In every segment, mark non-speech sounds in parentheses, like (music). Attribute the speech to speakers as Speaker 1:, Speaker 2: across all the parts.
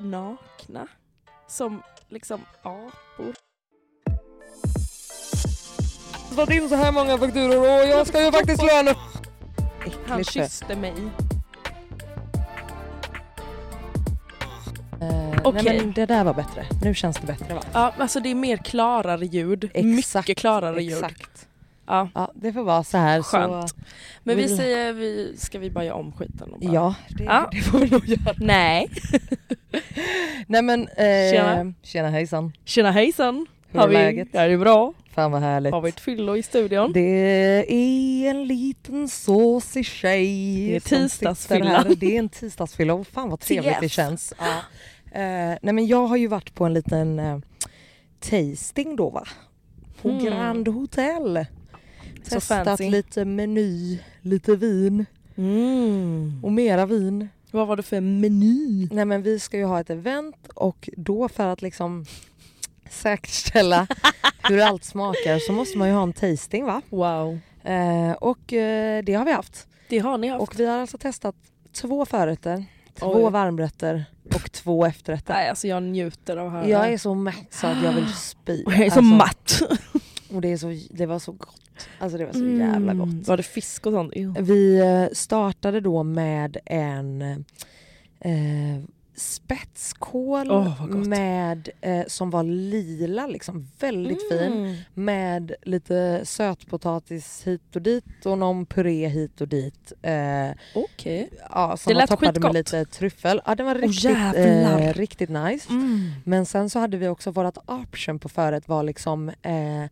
Speaker 1: nakna? Som liksom apor.
Speaker 2: fått in så här många fakturor och jag ska ju faktiskt löna.
Speaker 1: Han
Speaker 2: Äckligt.
Speaker 1: kysste mig.
Speaker 2: Eh, Nej
Speaker 1: Okej.
Speaker 2: men det där var bättre. Nu känns det bättre va?
Speaker 1: Ja, alltså det är mer klarare ljud.
Speaker 2: Exakt,
Speaker 1: Mycket klarare ljud.
Speaker 2: Exakt.
Speaker 1: Ja.
Speaker 2: Ja, det får vara så här.
Speaker 1: Skönt.
Speaker 2: Så,
Speaker 1: Men vi
Speaker 2: Vill-
Speaker 1: säger, vi, ska vi bara göra om skiten? Och bara... (laughs)
Speaker 2: ja, det,
Speaker 1: Ja.
Speaker 2: det får vi nog göra.
Speaker 1: Nej.
Speaker 2: Nej men, eh,
Speaker 1: Tjena.
Speaker 2: tjena hejsan.
Speaker 1: Tjena hejsan.
Speaker 2: Hur är läget?
Speaker 1: Ja, det är bra.
Speaker 2: Fan vad härligt.
Speaker 1: Har vi ett fyllo i studion?
Speaker 2: Det är en liten såsig tjej.
Speaker 1: Det är
Speaker 2: som sitter
Speaker 1: tisdagsfylla.
Speaker 2: här. Det är en tisdagsfylla. Och fan vad trevligt det
Speaker 1: Yes.
Speaker 2: känns. Ja. Eh, nej men jag har ju varit på en liten eh, tasting då va? På
Speaker 1: Mm.
Speaker 2: Grand Hotel.
Speaker 1: Så
Speaker 2: Testat
Speaker 1: fancy.
Speaker 2: lite meny, lite vin
Speaker 1: Mm.
Speaker 2: och mera vin.
Speaker 1: Vad var det för meny?
Speaker 2: Nej men vi ska ju ha ett event och då för att liksom säkerställa hur allt smakar så måste man ju ha en tasting va?
Speaker 1: Wow.
Speaker 2: Eh, och eh, det har vi haft.
Speaker 1: Det har ni haft.
Speaker 2: Och vi har alltså testat två förrätter, två
Speaker 1: Oj.
Speaker 2: varmrätter och två efterrätter.
Speaker 1: Nej, alltså jag njuter av att höra.
Speaker 2: Jag är så mätt så att jag vill spy.
Speaker 1: Jag är så
Speaker 2: Alltså,
Speaker 1: matt.
Speaker 2: Och det, är så, det var så gott. Alltså det var så
Speaker 1: Mm.
Speaker 2: jävla gott.
Speaker 1: Var det fisk och sånt? Jo.
Speaker 2: Vi eh, startade då med en eh, spetskål
Speaker 1: Åh, vad gott.
Speaker 2: med, eh, som var lila, liksom, väldigt fin.
Speaker 1: Mm.
Speaker 2: Med lite sötpotatis hit och dit och någon puré hit och dit. Eh,
Speaker 1: Okej.
Speaker 2: Ja, som
Speaker 1: Det
Speaker 2: man
Speaker 1: lät
Speaker 2: toppade med
Speaker 1: skitgott.
Speaker 2: lite tryffel. Ja, den var riktigt,
Speaker 1: jävlar.
Speaker 2: eh, riktigt nice. Men sen så hade vi också vårt option på förrätt var liksom eh,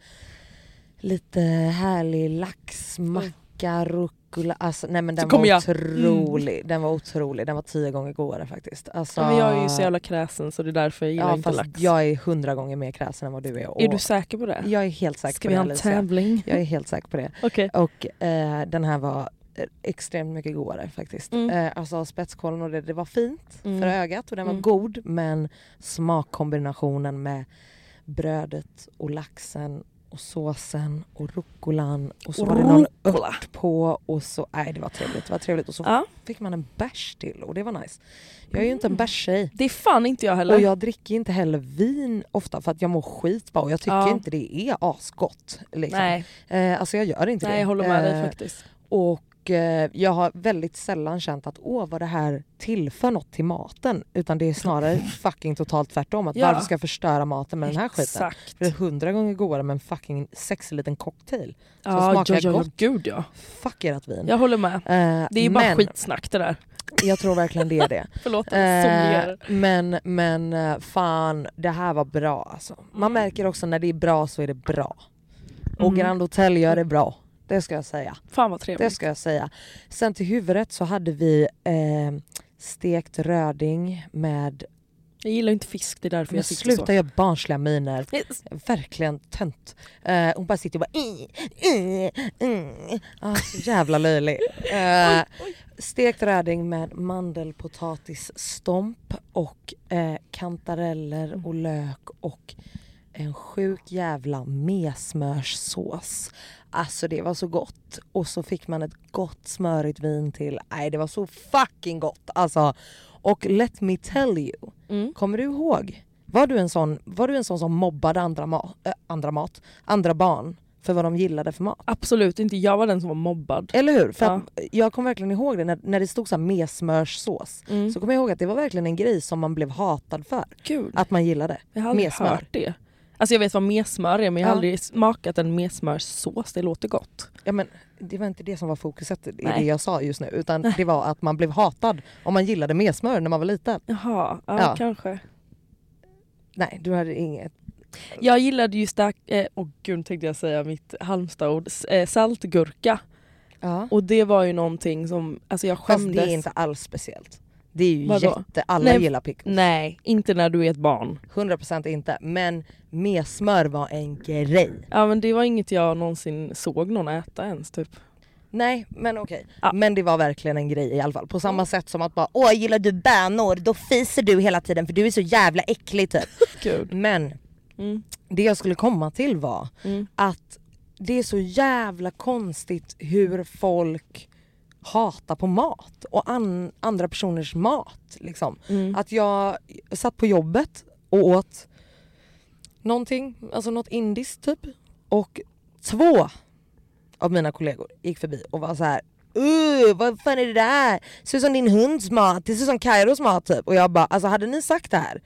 Speaker 2: lite härlig laxmacka, rucola. Alltså, nej men
Speaker 1: Mm. Så
Speaker 2: den
Speaker 1: kommer
Speaker 2: var
Speaker 1: jag. Mm.
Speaker 2: otrolig. Den var otrolig. Den var tio gånger godare faktiskt. Alltså,
Speaker 1: Ja, men jag är ju så jävla kräsen så det är därför jag gillar
Speaker 2: ja,
Speaker 1: inte
Speaker 2: fast
Speaker 1: lax.
Speaker 2: Jag är hundra gånger mer kräsen än vad du är. Och
Speaker 1: Är du säker på det?
Speaker 2: jag är helt säker
Speaker 1: Ska
Speaker 2: på
Speaker 1: vi
Speaker 2: det
Speaker 1: ha en
Speaker 2: Alicia.
Speaker 1: tävling?
Speaker 2: Jag är helt säker på det.
Speaker 1: Okej.
Speaker 2: Och eh, den här var eh, extremt mycket godare faktiskt.
Speaker 1: Mm.
Speaker 2: Eh, alltså spetskålen och det, det var fint
Speaker 1: Mm.
Speaker 2: för ögat och den var
Speaker 1: Mm.
Speaker 2: god men smakkombinationen med brödet och laxen och såsen och rucolan och så
Speaker 1: Och
Speaker 2: var det någon
Speaker 1: rucola.
Speaker 2: ört på och så, nej det var trevligt, det var trevligt och så
Speaker 1: Ja.
Speaker 2: fick man en bärs till och det var nice. Jag är ju inte
Speaker 1: Mm.
Speaker 2: en bärstjej
Speaker 1: Det är fan inte jag heller.
Speaker 2: och jag dricker inte heller vin ofta för att jag mår skit bara och jag tycker
Speaker 1: Ja.
Speaker 2: inte det är asgott. Liksom.
Speaker 1: Nej,
Speaker 2: Eh, alltså jag gör inte det.
Speaker 1: nej jag håller med dig
Speaker 2: Eh,
Speaker 1: faktiskt.
Speaker 2: och eh, jag har väldigt sällan känt att åh vad det här tillför något till maten. Utan det
Speaker 1: (laughs)
Speaker 2: är snarare fucking totalt tvärtom. Att
Speaker 1: Ja.
Speaker 2: varför ska jag förstöra maten med den här skiten?
Speaker 1: Exakt.
Speaker 2: För det är hundra gånger godare med en fucking sexig liten cocktail. som
Speaker 1: Ja,
Speaker 2: smakar
Speaker 1: ja, ja,
Speaker 2: gott.
Speaker 1: gud ja.
Speaker 2: Fuck ert vin.
Speaker 1: Jag håller med.
Speaker 2: Eh,
Speaker 1: Det är ju bara
Speaker 2: men
Speaker 1: skitsnack det där.
Speaker 2: (laughs) jag tror verkligen det
Speaker 1: (laughs)
Speaker 2: är det.
Speaker 1: Förlåt,
Speaker 2: Eh,
Speaker 1: somligar.
Speaker 2: men men eh, fan, det här var bra alltså. Man märker också när det är bra så är det bra. Och
Speaker 1: Mm.
Speaker 2: Grand Hotel gör det bra. Det ska jag säga.
Speaker 1: Fan vad
Speaker 2: Det
Speaker 1: trevligt.
Speaker 2: ska jag säga. Sen till huvudrätt så hade vi eh, stekt röding med
Speaker 1: Jag gillar inte fisk, det är därför
Speaker 2: Men
Speaker 1: jag tyckte
Speaker 2: sluta
Speaker 1: så.
Speaker 2: göra barnsliga miner.
Speaker 1: Yes.
Speaker 2: Verkligen tönt. Eh, hon bara sitter och bara... "Eh, eh, eh." Ah, så
Speaker 1: (laughs)
Speaker 2: jävla löjlig. Eh, stekt röding med mandelpotatisstomp och eh, kantareller och lök och en sjuk jävla mesmörssås. Alltså det var så gott. Och så fick man ett gott smörigt vin till. Nej det var så fucking gott alltså. Och let me tell you.
Speaker 1: Mm.
Speaker 2: Kommer du ihåg? Var du en sån, var du en sån som mobbade andra, ma- äh, andra mat, andra barn för vad de gillade för mat?
Speaker 1: Absolut inte, jag var den som var mobbad.
Speaker 2: Eller hur? För
Speaker 1: Ja.
Speaker 2: att, jag kommer verkligen ihåg det när, när det stod så här mesmörssås.
Speaker 1: Mm.
Speaker 2: Så kommer jag ihåg att det var verkligen en grej som man blev hatad för.
Speaker 1: Gud,
Speaker 2: Att man gillade.
Speaker 1: jag har aldrig
Speaker 2: mesmör.
Speaker 1: hört det. Alltså jag vet vad mesmör är men jag har
Speaker 2: Ja.
Speaker 1: aldrig smakat en mesmörssås, det låter gott.
Speaker 2: Ja, men det var inte det som var fokuset i
Speaker 1: Nej.
Speaker 2: det jag sa just nu. Utan det var att man blev hatad om man gillade mesmör när man var liten.
Speaker 1: Jaha, ja,
Speaker 2: Ja.
Speaker 1: kanske.
Speaker 2: Nej, du hade inget.
Speaker 1: Jag gillade ju stark, eh, åh gud nu tänkte jag säga mitt Halmstadord, S- eh, saltgurka.
Speaker 2: Ja.
Speaker 1: Och det var ju någonting som, alltså jag
Speaker 2: Fast
Speaker 1: skämdes.
Speaker 2: det är inte alls speciellt. Det är ju
Speaker 1: Vadå?
Speaker 2: jätte... Alla
Speaker 1: Nej.
Speaker 2: gillar pickles.
Speaker 1: Nej, inte när du är ett barn.
Speaker 2: 100% inte. Men mesmör var en grej.
Speaker 1: Ja men det var inget jag någonsin såg någon äta ens typ.
Speaker 2: Nej men okej.
Speaker 1: Ja.
Speaker 2: Men det var verkligen en grej i alla fall. På samma sätt som att bara åh gillar du bönor då fiser du hela tiden för du är så jävla äcklig typ.
Speaker 1: Gud.
Speaker 2: Men
Speaker 1: Mm.
Speaker 2: det jag skulle komma till var
Speaker 1: Mm.
Speaker 2: att det är så jävla konstigt hur folk hatar på mat och an- andra personers mat. Liksom.
Speaker 1: Mm.
Speaker 2: Att jag satt på jobbet och åt någonting, alltså något indiskt typ. Och två av mina kollegor gick förbi och var så här. Uh, vad fan är det där? Ser ut som din hunds mat, det ser ut som Kairos mat typ. Och jag bara, alltså hade ni sagt det här?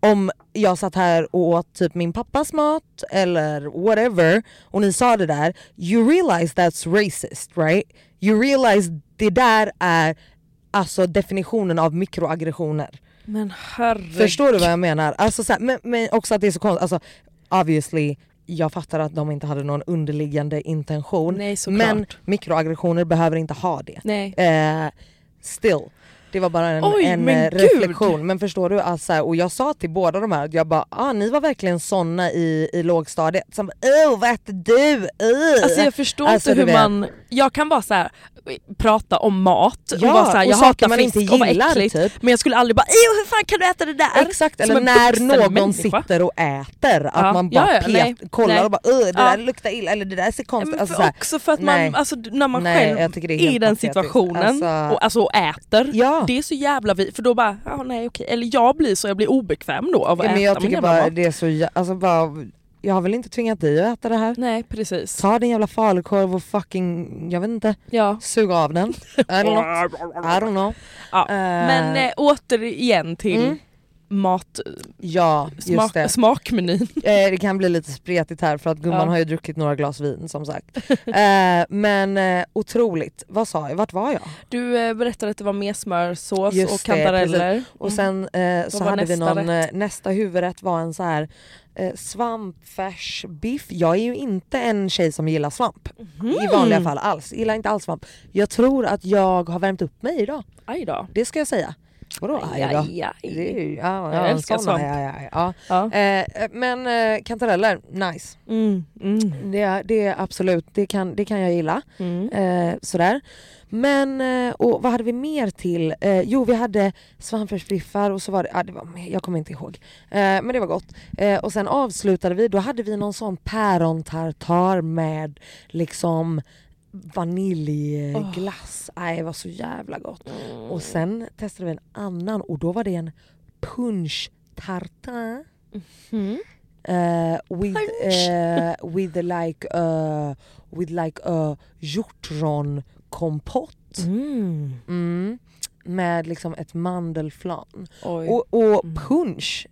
Speaker 2: Om jag satt här och åt typ min pappas mat eller whatever och ni sa det där, you realize that's racist right? You realize det där är alltså definitionen av mikroaggressioner.
Speaker 1: Men herregud.
Speaker 2: Förstår du vad jag menar? Alltså så här, men, men också att det är så konstigt, alltså obviously jag fattar att de inte hade någon underliggande intention
Speaker 1: Nej såklart.
Speaker 2: men mikroaggressioner behöver inte ha det.
Speaker 1: Nej.
Speaker 2: Eh, still. Det var bara en,
Speaker 1: Oj,
Speaker 2: en
Speaker 1: men
Speaker 2: eh,
Speaker 1: gud!
Speaker 2: reflektion. Men förstår du, alltså, här, och jag sa till båda de här att jag bara ah, ni var verkligen såna i, i lågstadiet. Som oh vad äter du? Uh.
Speaker 1: Alltså jag förstår
Speaker 2: Alltså,
Speaker 1: inte hur
Speaker 2: du vet.
Speaker 1: man, jag kan bara så här, eh, prata om mat och
Speaker 2: Ja,
Speaker 1: bara så här,
Speaker 2: och
Speaker 1: jag
Speaker 2: saker
Speaker 1: hatar
Speaker 2: man
Speaker 1: fisk
Speaker 2: inte
Speaker 1: och vad
Speaker 2: gillar,
Speaker 1: äckligt.
Speaker 2: typ.
Speaker 1: Men jag skulle aldrig bara "Ew, hur fan kan du äta det där?
Speaker 2: Exakt,
Speaker 1: Som
Speaker 2: eller
Speaker 1: en
Speaker 2: när
Speaker 1: vuxen
Speaker 2: någon
Speaker 1: människa.
Speaker 2: sitter och äter att
Speaker 1: Ja.
Speaker 2: man bara
Speaker 1: Ja, ja, nej,
Speaker 2: pet, kollar
Speaker 1: nej.
Speaker 2: och bara "Ugh, det
Speaker 1: Ja.
Speaker 2: där luktar illa eller det där ser
Speaker 1: Ja,
Speaker 2: konstigt
Speaker 1: Men
Speaker 2: alltså,
Speaker 1: för
Speaker 2: så här,
Speaker 1: också för att
Speaker 2: nej.
Speaker 1: man, alltså, d- när man
Speaker 2: Nej, jag
Speaker 1: själv
Speaker 2: tycker det är
Speaker 1: är i
Speaker 2: helt
Speaker 1: den
Speaker 2: patetiskt.
Speaker 1: situationen
Speaker 2: Alltså-
Speaker 1: och, alltså, och äter,
Speaker 2: Ja.
Speaker 1: det är så jävla vi för då bara, ja nej okej, eller jag blir så, jag blir obekväm då av att
Speaker 2: Ja, men
Speaker 1: äta
Speaker 2: jag
Speaker 1: min
Speaker 2: tycker
Speaker 1: jävla
Speaker 2: bara
Speaker 1: mat.
Speaker 2: det är så jä- alltså, bara, jag har väl inte tvingat dig att äta det här?
Speaker 1: Nej precis.
Speaker 2: Ta din jävla falukorv och fucking, jag vet inte,
Speaker 1: Ja.
Speaker 2: suga av den. I don't know. I don't know.
Speaker 1: Ja.
Speaker 2: Eh,
Speaker 1: Men eh, återigen till
Speaker 2: Mm.
Speaker 1: mat,
Speaker 2: ja, just
Speaker 1: smak,
Speaker 2: det.
Speaker 1: smakmenyn.
Speaker 2: Eh, det kan bli lite spretigt här för att gumman
Speaker 1: Ja.
Speaker 2: har ju druckit några glas vin som sagt. Eh, men eh, otroligt, vad sa jag, vart var jag?
Speaker 1: Du eh, berättade att det var mesmörsås
Speaker 2: Just
Speaker 1: och
Speaker 2: det, precis.
Speaker 1: kantareller.
Speaker 2: Och sen eh, så
Speaker 1: Mm. var
Speaker 2: hade vi
Speaker 1: nästa
Speaker 2: någon, eh, nästa huvudrätt var en så här eh, svampfärsbiff. Jag är ju inte en tjej som gillar svamp i
Speaker 1: Mm.
Speaker 2: vanliga fall alls. Gillar inte alls svamp. Jag tror att jag har värmt upp mig idag,
Speaker 1: Aj då.
Speaker 2: det ska jag säga. Vadå aj,
Speaker 1: Aj,
Speaker 2: då?
Speaker 1: aj, aj.
Speaker 2: Det är ju- ja,
Speaker 1: Jag
Speaker 2: ja, en
Speaker 1: älskar
Speaker 2: sån
Speaker 1: svamp.
Speaker 2: aj, aj, aj, ja.
Speaker 1: Ja.
Speaker 2: Eh, eh, men eh, kantareller, nice.
Speaker 1: Mm, mm,
Speaker 2: Det, det är absolut, det kan, det kan jag gilla.
Speaker 1: mm.
Speaker 2: Eh, sådär. Men eh, och vad hade vi mer till? Eh, jo vi hade svampfärsbiffar och så var det, ah, det var, mer, jag kommer inte ihåg. Eh, men det var gott. Eh, och sen avslutade vi, då hade vi någon sån pärontartar med liksom vaniljglass. Nej det var så jävla gott. Och sen testade vi en annan och då var det en punch tartar.
Speaker 1: Mm.
Speaker 2: Eh, with,
Speaker 1: Punch.
Speaker 2: eh, with like a, with like a hjortronkompott.
Speaker 1: Mm.
Speaker 2: Mm. Med liksom ett mandelflan.
Speaker 1: Oj. Mm.
Speaker 2: Och, och punch.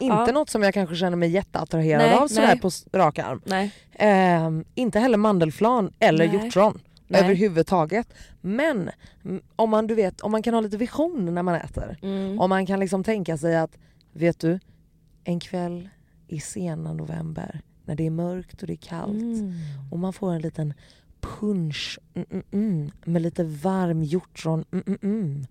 Speaker 2: Inte
Speaker 1: Ja.
Speaker 2: något som jag kanske känner mig jätteattraherad
Speaker 1: Nej,
Speaker 2: av sådär
Speaker 1: nej.
Speaker 2: på s- rak arm.
Speaker 1: Nej.
Speaker 2: Ehm, inte heller mandelflan eller
Speaker 1: Nej.
Speaker 2: hjortron
Speaker 1: Nej.
Speaker 2: överhuvudtaget. Men mm, om man, du vet, om man kan ha lite vision när man äter.
Speaker 1: Mm.
Speaker 2: Om man kan liksom tänka sig att, vet du, en kväll i sena november när det är mörkt och det är kallt
Speaker 1: Mm.
Speaker 2: och man får en liten punch mm, mm, mm, med lite varm hjortron mm, mm, mm.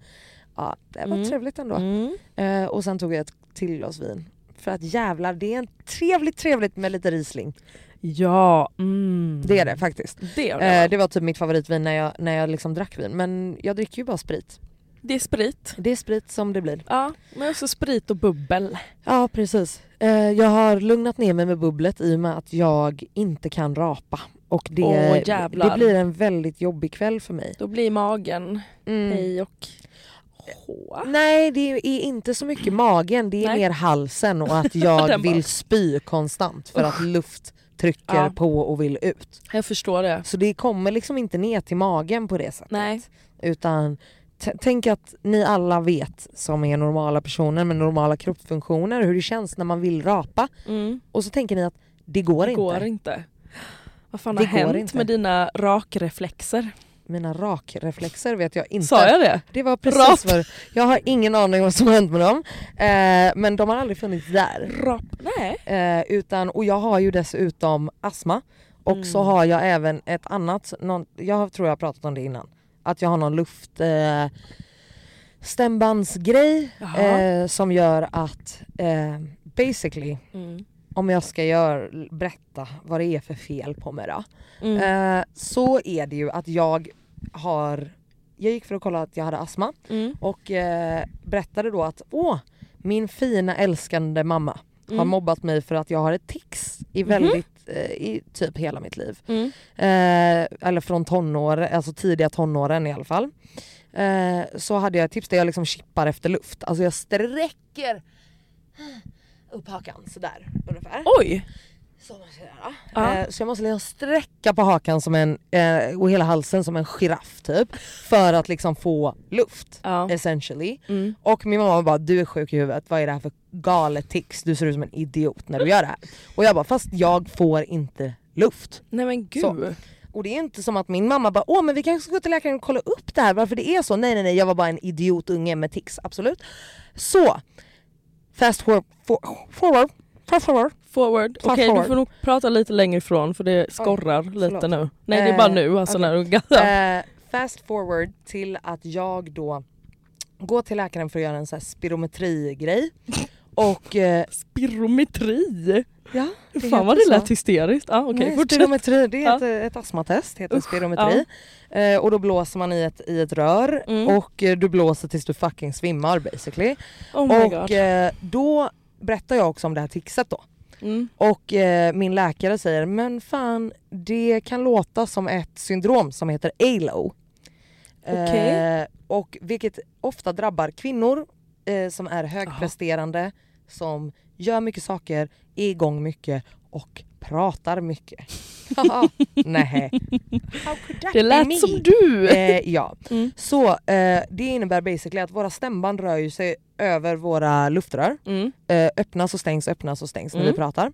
Speaker 2: Ja, det var
Speaker 1: Mm.
Speaker 2: trevligt ändå.
Speaker 1: Mm.
Speaker 2: Eh, och sen tog jag ett till glas vin. För att jävlar, det är en trevligt trevligt med lite Riesling.
Speaker 1: Ja, mm.
Speaker 2: Det är det faktiskt.
Speaker 1: Det är, det.
Speaker 2: Eh, det var typ mitt favoritvin när jag, när jag liksom drack vin. Men jag dricker ju bara sprit.
Speaker 1: det är sprit.
Speaker 2: Det är sprit som det blir.
Speaker 1: Ja, men också sprit och bubbel.
Speaker 2: Ja precis. Eh, jag har lugnat ner mig med bubblet i och med att jag inte kan rapa. Och det,
Speaker 1: Åh, jävlar.
Speaker 2: det blir en väldigt jobbig kväll för mig.
Speaker 1: Då blir magen
Speaker 2: Mm.
Speaker 1: hej och hå.
Speaker 2: Nej det är inte så mycket magen, det är
Speaker 1: Nej.
Speaker 2: mer halsen och
Speaker 1: (laughs)
Speaker 2: att
Speaker 1: Den
Speaker 2: jag
Speaker 1: bara-
Speaker 2: vill spy konstant för att luft trycker
Speaker 1: Ja.
Speaker 2: på och vill ut.
Speaker 1: Jag förstår det.
Speaker 2: Så det kommer liksom inte ner till magen på det sättet.
Speaker 1: Nej.
Speaker 2: Utan t- tänk att ni alla vet som är normala personer med normala kroppsfunktioner hur det känns när man vill rapa
Speaker 1: Mm.
Speaker 2: och så tänker ni att det går,
Speaker 1: Det går
Speaker 2: inte.
Speaker 1: inte. Vad fan
Speaker 2: Det
Speaker 1: har
Speaker 2: går
Speaker 1: hänt
Speaker 2: inte.
Speaker 1: med dina rakreflexer?
Speaker 2: Mina rakreflexer vet jag inte.
Speaker 1: Sa jag det?
Speaker 2: Det var precis
Speaker 1: Rap.
Speaker 2: för Jag har ingen aning vad som har hänt med dem. Eh, men de har aldrig funnits där.
Speaker 1: Rap. Nej.
Speaker 2: Eh, utan, och jag har ju dessutom astma och så
Speaker 1: Mm.
Speaker 2: har jag även ett annat, någon, jag tror jag har pratat om det innan, att jag har någon luft eh, stämbandsgrej
Speaker 1: Jaha.
Speaker 2: eh, som gör att eh, basically
Speaker 1: Mm.
Speaker 2: om jag ska gör, berätta vad det är för fel på mig då.
Speaker 1: Mm.
Speaker 2: Eh, så är det ju att jag har, jag gick för att kolla att jag hade astma
Speaker 1: Mm.
Speaker 2: och eh, berättade då att åh, min fina älskande mamma har
Speaker 1: Mm. Mhm.
Speaker 2: mobbat mig för att jag har ett tics i väldigt, eh, i typ hela mitt liv.
Speaker 1: Mm.
Speaker 2: Eh, eller från tonår, alltså tidiga tonåren i alla fall. Eh, så hade jag ett tips där jag liksom chippar efter luft. Alltså jag sträcker upp hakan sådär ungefär.
Speaker 1: Oj!
Speaker 2: Så man ska göra.
Speaker 1: Ja.
Speaker 2: Eh, så jag måste liksom sträcka på hakan som en, eh, och hela halsen som en giraff typ. För att liksom få luft
Speaker 1: Ja.
Speaker 2: essentially.
Speaker 1: Mm.
Speaker 2: Och min mamma bara du är sjuk i huvudet, vad är det här för galet tics? Du ser ut som en idiot när du gör det här. Och jag bara fast jag får inte luft.
Speaker 1: Nej men gud.
Speaker 2: Så. Och det är inte som att min mamma bara åh men vi kanske ska gå till läkaren och kolla upp det här varför det är så. Nej nej nej jag var bara en idiotunge med tics, absolut. Så, fast for, for, forward, fast forward.
Speaker 1: Forward.
Speaker 2: Fast
Speaker 1: Okej
Speaker 2: forward.
Speaker 1: du får nog prata lite längre ifrån för det skorrar
Speaker 2: förlåt.
Speaker 1: lite nu. Nej det är bara
Speaker 2: Eh,
Speaker 1: nu alltså
Speaker 2: okej.
Speaker 1: när du
Speaker 2: Eh, fast forward till att jag då går till läkaren för att göra en så
Speaker 1: (laughs)
Speaker 2: här spirometri-grej. Och... Eh,
Speaker 1: Spirometri!
Speaker 2: ja,
Speaker 1: Fan vad det lät hysteriskt. Ja, okej,
Speaker 2: Nej,
Speaker 1: fortsätt.
Speaker 2: spirometri, det är
Speaker 1: Ja.
Speaker 2: ett, eh, ett astmatest, heter spirometri. Eh, och då blåser man i ett, i ett rör
Speaker 1: Mm.
Speaker 2: och eh, du blåser tills du fucking svimmar basically.
Speaker 1: Oh my
Speaker 2: och
Speaker 1: god.
Speaker 2: eh, då berättar jag också om det här tixet då.
Speaker 1: Mm.
Speaker 2: Och eh, min läkare säger men fan det kan låta som ett syndrom som heter ALO.
Speaker 1: Okej.
Speaker 2: och vilket ofta drabbar kvinnor eh, som är högpresterande, som gör mycket saker, är igång mycket och
Speaker 1: (laughs)
Speaker 2: pratar mycket. Haha, Nej. How could that
Speaker 1: Det
Speaker 2: be
Speaker 1: lät
Speaker 2: me?
Speaker 1: som du!
Speaker 2: Eh, ja.
Speaker 1: Mm.
Speaker 2: Så eh, det innebär basically att våra stämband rör ju sig över våra luftrör
Speaker 1: Mm.
Speaker 2: eh, öppnas och stängs, öppnas och stängs när
Speaker 1: Mm.
Speaker 2: vi pratar.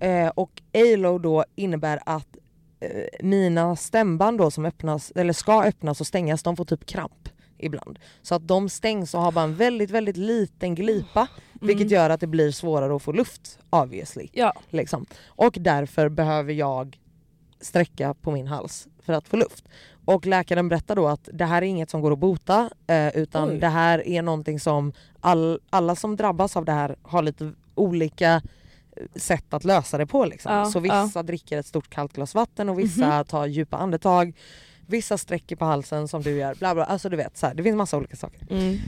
Speaker 2: Eh, och ALO då innebär att eh, mina stämband då som öppnas, eller ska öppnas och stängas, de får typ kramp ibland. Så att de stängs och har bara en väldigt, väldigt liten glipa vilket gör att det blir svårare att få luft obviously.
Speaker 1: Ja.
Speaker 2: Liksom. Och därför behöver jag sträcka på min hals för att få luft. Och läkaren berättar då att det här är inget som går att bota eh, utan
Speaker 1: Oj.
Speaker 2: det här är någonting som all, alla som drabbas av det här har lite olika eh, sätt att lösa det på. Liksom.
Speaker 1: Ja, Mhm.
Speaker 2: Så vissa dricker ett stort kallt glas vatten och vissa tar djupa andetag. Vissa sträcker på halsen som du gör. Bla bla. Alltså du vet, så här, det finns massa olika saker.
Speaker 1: Mm.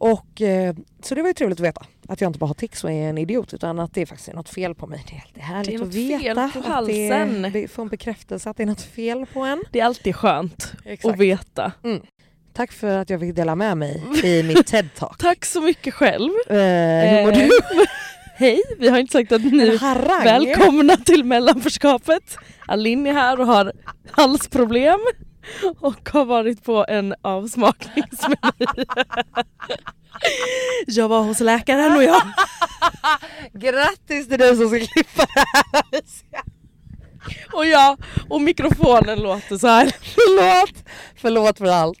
Speaker 2: Och, eh, så det var ju trevligt att veta. Att jag inte bara har tics och är en idiot utan att det faktiskt är något fel på mig. Det är alltid härligt
Speaker 1: Det är
Speaker 2: att
Speaker 1: något
Speaker 2: veta.
Speaker 1: fel på
Speaker 2: att det-
Speaker 1: halsen.
Speaker 2: Det får en bekräftelse att det är något fel på en.
Speaker 1: Det är alltid skönt att
Speaker 2: Och vi-
Speaker 1: veta.
Speaker 2: Tack för att jag fick dela med mig
Speaker 1: (laughs)
Speaker 2: i mitt TED-talk.
Speaker 1: Tack så mycket själv.
Speaker 2: eh, hur mår du?
Speaker 1: Eh. (laughs) Hej, vi har inte sagt att ni
Speaker 2: En
Speaker 1: är
Speaker 2: harang.
Speaker 1: välkomna till mellanförskapet. Alin är här och har halsproblem och har varit på en
Speaker 2: (laughs)
Speaker 1: avsmakningsmeny. Jag var hos läkaren och jag
Speaker 2: Grattis till dig som ska klippa det här Alicia.
Speaker 1: (laughs) och jag och mikrofonen låter så här.
Speaker 2: Förlåt! Förlåt
Speaker 1: (laughs)
Speaker 2: för allt.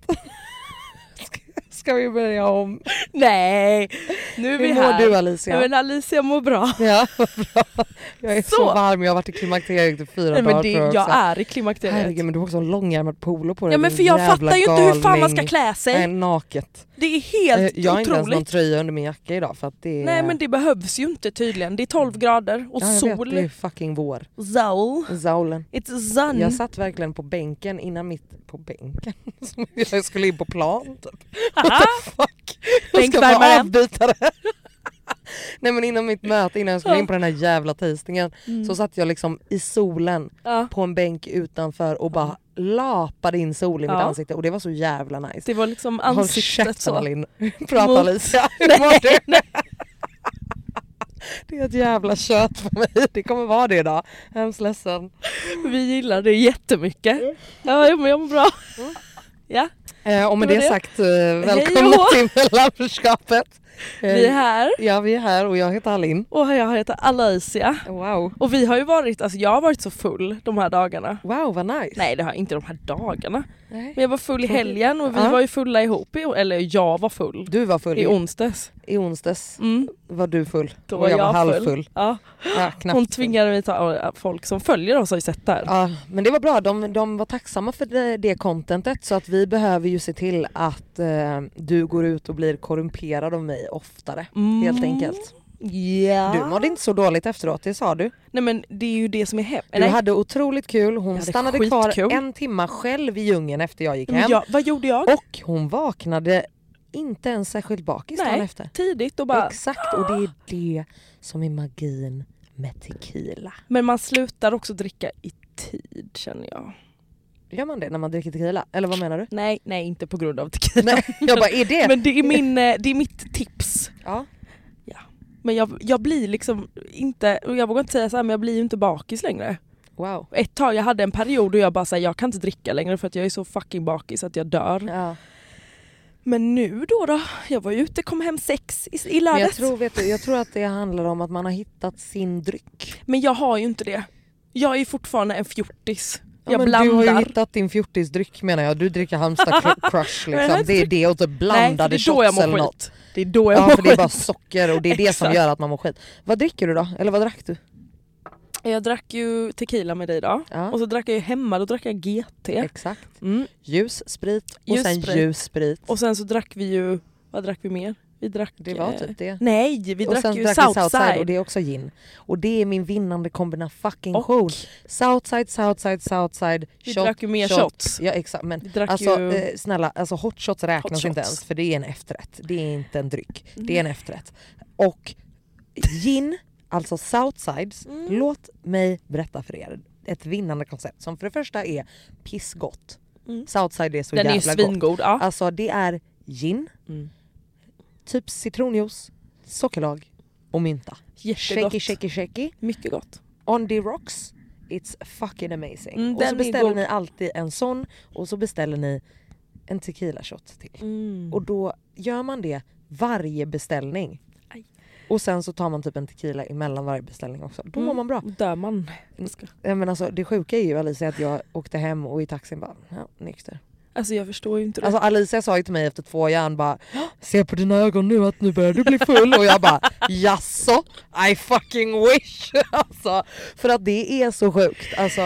Speaker 2: Ska- Ska vi börja om?
Speaker 1: Nej, nu är vi
Speaker 2: Hur mår
Speaker 1: här.
Speaker 2: du
Speaker 1: Nej,
Speaker 2: Alicia?
Speaker 1: men Alicia mår bra.
Speaker 2: Ja, vad bra. Jag är så,
Speaker 1: Så.
Speaker 2: varm, jag har varit i klimakteriet i fyra
Speaker 1: Nej, men
Speaker 2: dagar
Speaker 1: det,
Speaker 2: tror
Speaker 1: jag
Speaker 2: också.
Speaker 1: är i klimakteriet.
Speaker 2: Herregud men du har också en långärmad polo på dig
Speaker 1: Ja men
Speaker 2: din
Speaker 1: för jag
Speaker 2: jävla
Speaker 1: fattar ju inte hur fan man
Speaker 2: galning.
Speaker 1: ska klä sig.
Speaker 2: Nej, naket.
Speaker 1: Det är helt
Speaker 2: Eh, Jag har inte ens någon
Speaker 1: otroligt.
Speaker 2: tröja under min jacka idag för att det är...
Speaker 1: Nej men det behövs ju inte tydligen. Det är 12 grader och
Speaker 2: Mm. ja, jag
Speaker 1: sol.
Speaker 2: Vet, det är fucking vår.
Speaker 1: Zowl.
Speaker 2: Zaulen.
Speaker 1: It's sun.
Speaker 2: Jag satt verkligen på bänken innan mitt... På bänken? (laughs) Som om jag skulle in på plan typ. What the fuck? Jag ska
Speaker 1: Bänkvärmaren.
Speaker 2: bara avbyta det (laughs) här. Nej men innan mitt möte, innan jag skulle in på den här jävla tastingen så satt jag liksom i solen
Speaker 1: Mm. Ja.
Speaker 2: på en bänk utanför och bara lapade in sol i mitt
Speaker 1: Ja.
Speaker 2: ansikte och det var så jävla nice.
Speaker 1: Det var liksom
Speaker 2: Håll
Speaker 1: ansiktet
Speaker 2: käften
Speaker 1: så.
Speaker 2: Alin, (laughs) prata
Speaker 1: Mot-
Speaker 2: (laughs) Alicia. Hur mår du? Det är ett jävla kött på mig, det kommer vara det idag. Hemskt ledsen.
Speaker 1: Vi gillar det jättemycket.
Speaker 2: Mm.
Speaker 1: Ja, men jag mår bra. Ja,
Speaker 2: Eh, och med
Speaker 1: Det
Speaker 2: det,
Speaker 1: var det.
Speaker 2: sagt, eh, välkomna
Speaker 1: och hå!
Speaker 2: till (laughs) mellanförskapet. Eh,
Speaker 1: vi är här
Speaker 2: Ja, vi är här och jag heter Alin.
Speaker 1: och jag heter Alicia.
Speaker 2: Wow.
Speaker 1: Och vi har ju varit, alltså jag har varit så full de här dagarna.
Speaker 2: Wow, vad nice.
Speaker 1: Nej det har jag inte de här dagarna.
Speaker 2: Nej.
Speaker 1: Men jag var full i helgen och vi
Speaker 2: Ja.
Speaker 1: var ju fulla ihop, i, eller jag var full.
Speaker 2: Du var full
Speaker 1: I
Speaker 2: i,
Speaker 1: onsdags.
Speaker 2: i onsdags.
Speaker 1: Mm,
Speaker 2: Var du full?
Speaker 1: då
Speaker 2: och
Speaker 1: var jag,
Speaker 2: var halvfull.
Speaker 1: full. Ja.
Speaker 2: Ja, knappt.
Speaker 1: Hon tvingade mig ta folk som följer oss har ju sett det här.
Speaker 2: Ja, men det var bra. De, de var tacksamma för det, det contentet så att vi behöver ju se till att eh, du går ut och blir korrumperad av mig oftare. Helt enkelt.
Speaker 1: Mm. Ja.
Speaker 2: Du mådde inte så dåligt efteråt, det sa du.
Speaker 1: Nej men det är ju det som är hem.
Speaker 2: Du
Speaker 1: Nej.
Speaker 2: hade otroligt kul. Hon
Speaker 1: hade
Speaker 2: stannade kvar
Speaker 1: skitkul.
Speaker 2: en timma själv i djungeln efter jag gick
Speaker 1: Men
Speaker 2: hem.
Speaker 1: jag, vad gjorde jag?
Speaker 2: Och hon vaknade inte ens särskilt bakis dagen
Speaker 1: Nej,
Speaker 2: efter.
Speaker 1: tidigt och bara
Speaker 2: Exakt, och det är det som är magin med tequila.
Speaker 1: Men man slutar också dricka i tid känner jag.
Speaker 2: Gör man det när man dricker tequila? Eller
Speaker 1: (laughs)
Speaker 2: vad menar du?
Speaker 1: Nej, nej inte på grund av tequila.
Speaker 2: Nej, jag bara, är (laughs) det?
Speaker 1: Men det är, min, eh, det är mitt tips.
Speaker 2: ja.
Speaker 1: Men jag, jag blir liksom inte, och jag vågar inte säga så här, men jag blir ju inte bakis längre.
Speaker 2: Wow.
Speaker 1: Ett tag, jag hade en period då jag bara säger jag kan inte dricka längre för att jag är så fucking bakis att jag dör.
Speaker 2: Ja.
Speaker 1: Men nu då då, jag var ju ute, kom hem sex i, i
Speaker 2: Men jag,
Speaker 1: lördags.
Speaker 2: tror, vet du, jag tror att det handlar om att man har hittat sin dryck.
Speaker 1: Men jag har ju inte det. Jag är ju fortfarande en fjortis.
Speaker 2: Ja,
Speaker 1: jag
Speaker 2: men
Speaker 1: blandar.
Speaker 2: Du har ju hittat din fjortisdryck menar jag. Du dricker
Speaker 1: (laughs)
Speaker 2: Halmstad cr- crush
Speaker 1: Men jag har
Speaker 2: liksom.
Speaker 1: inte
Speaker 2: Det är det och typ
Speaker 1: nej, för det
Speaker 2: blandade
Speaker 1: är då jag
Speaker 2: shots
Speaker 1: mår
Speaker 2: eller något.
Speaker 1: skit. Det är då (laughs) jag
Speaker 2: Ja
Speaker 1: mår
Speaker 2: för det är
Speaker 1: skit.
Speaker 2: bara socker och det är det som
Speaker 1: Exakt.
Speaker 2: gör att man mår skit. Vad dricker du då? Eller vad drack du?
Speaker 1: Jag drack ju tequila med dig idag.
Speaker 2: Ja.
Speaker 1: Och så drack jag ju hemma, då drack jag GT.
Speaker 2: Exakt.
Speaker 1: Mm.
Speaker 2: Ljus sprit och
Speaker 1: Ljus
Speaker 2: sen
Speaker 1: sprit.
Speaker 2: ljus sprit.
Speaker 1: Och sen så drack vi ju, vad drack vi mer? Vi drack...
Speaker 2: Det var
Speaker 1: eh,
Speaker 2: typ det.
Speaker 1: Nej, vi
Speaker 2: och
Speaker 1: drack
Speaker 2: sen
Speaker 1: ju
Speaker 2: drack vi
Speaker 1: Southside.
Speaker 2: Southside och det är också gin. Och det är min vinnande kombina fucking
Speaker 1: Och
Speaker 2: show. Southside, Southside, Southside,
Speaker 1: Vi
Speaker 2: shot,
Speaker 1: drack ju mer
Speaker 2: shot.
Speaker 1: shots.
Speaker 2: Ja exakt men
Speaker 1: Vi drack
Speaker 2: alltså
Speaker 1: ju-
Speaker 2: eh, snälla, alltså hot shots räknas
Speaker 1: Hot
Speaker 2: inte
Speaker 1: shots.
Speaker 2: ens för det är en efterrätt. Det är inte en dryck, det är en efterrätt. Och gin, alltså Southsides,
Speaker 1: Mm.
Speaker 2: låt mig berätta för er ett vinnande koncept som för det första är pissgott. Southside är så
Speaker 1: Mm. Den är ju Mm.
Speaker 2: jävla gott.
Speaker 1: svingod. Ja.
Speaker 2: Alltså det är gin, typ citronjuice, sockerlag och mynta.
Speaker 1: Jättegott.
Speaker 2: Shaky, shaky, shaky.
Speaker 1: Mycket gott.
Speaker 2: On the rocks. It's fucking amazing.
Speaker 1: Mm,
Speaker 2: och
Speaker 1: den
Speaker 2: så
Speaker 1: är
Speaker 2: beställer
Speaker 1: god.
Speaker 2: ni alltid en sån och så beställer ni en tequila shot till. Mm.
Speaker 1: Mm.
Speaker 2: Och då gör man det varje beställning.
Speaker 1: Aj.
Speaker 2: Och sen så tar man typ en tequila emellan varje beställning också. Då
Speaker 1: Mm.
Speaker 2: mår man bra.
Speaker 1: Dör man. Jag ska-
Speaker 2: Ja, Men alltså, det sjuka är ju Alicia att jag åkte hem och i taxin bara, ja, nykter.
Speaker 1: Alltså jag förstår ju inte det.
Speaker 2: Alltså Alicia sa ju till mig efter två järn bara Se på dina ögon nu att nu börjar du bli full och jag bara Jaså? I fucking wish! (laughs) Alltså, för att det är så sjukt. Alltså,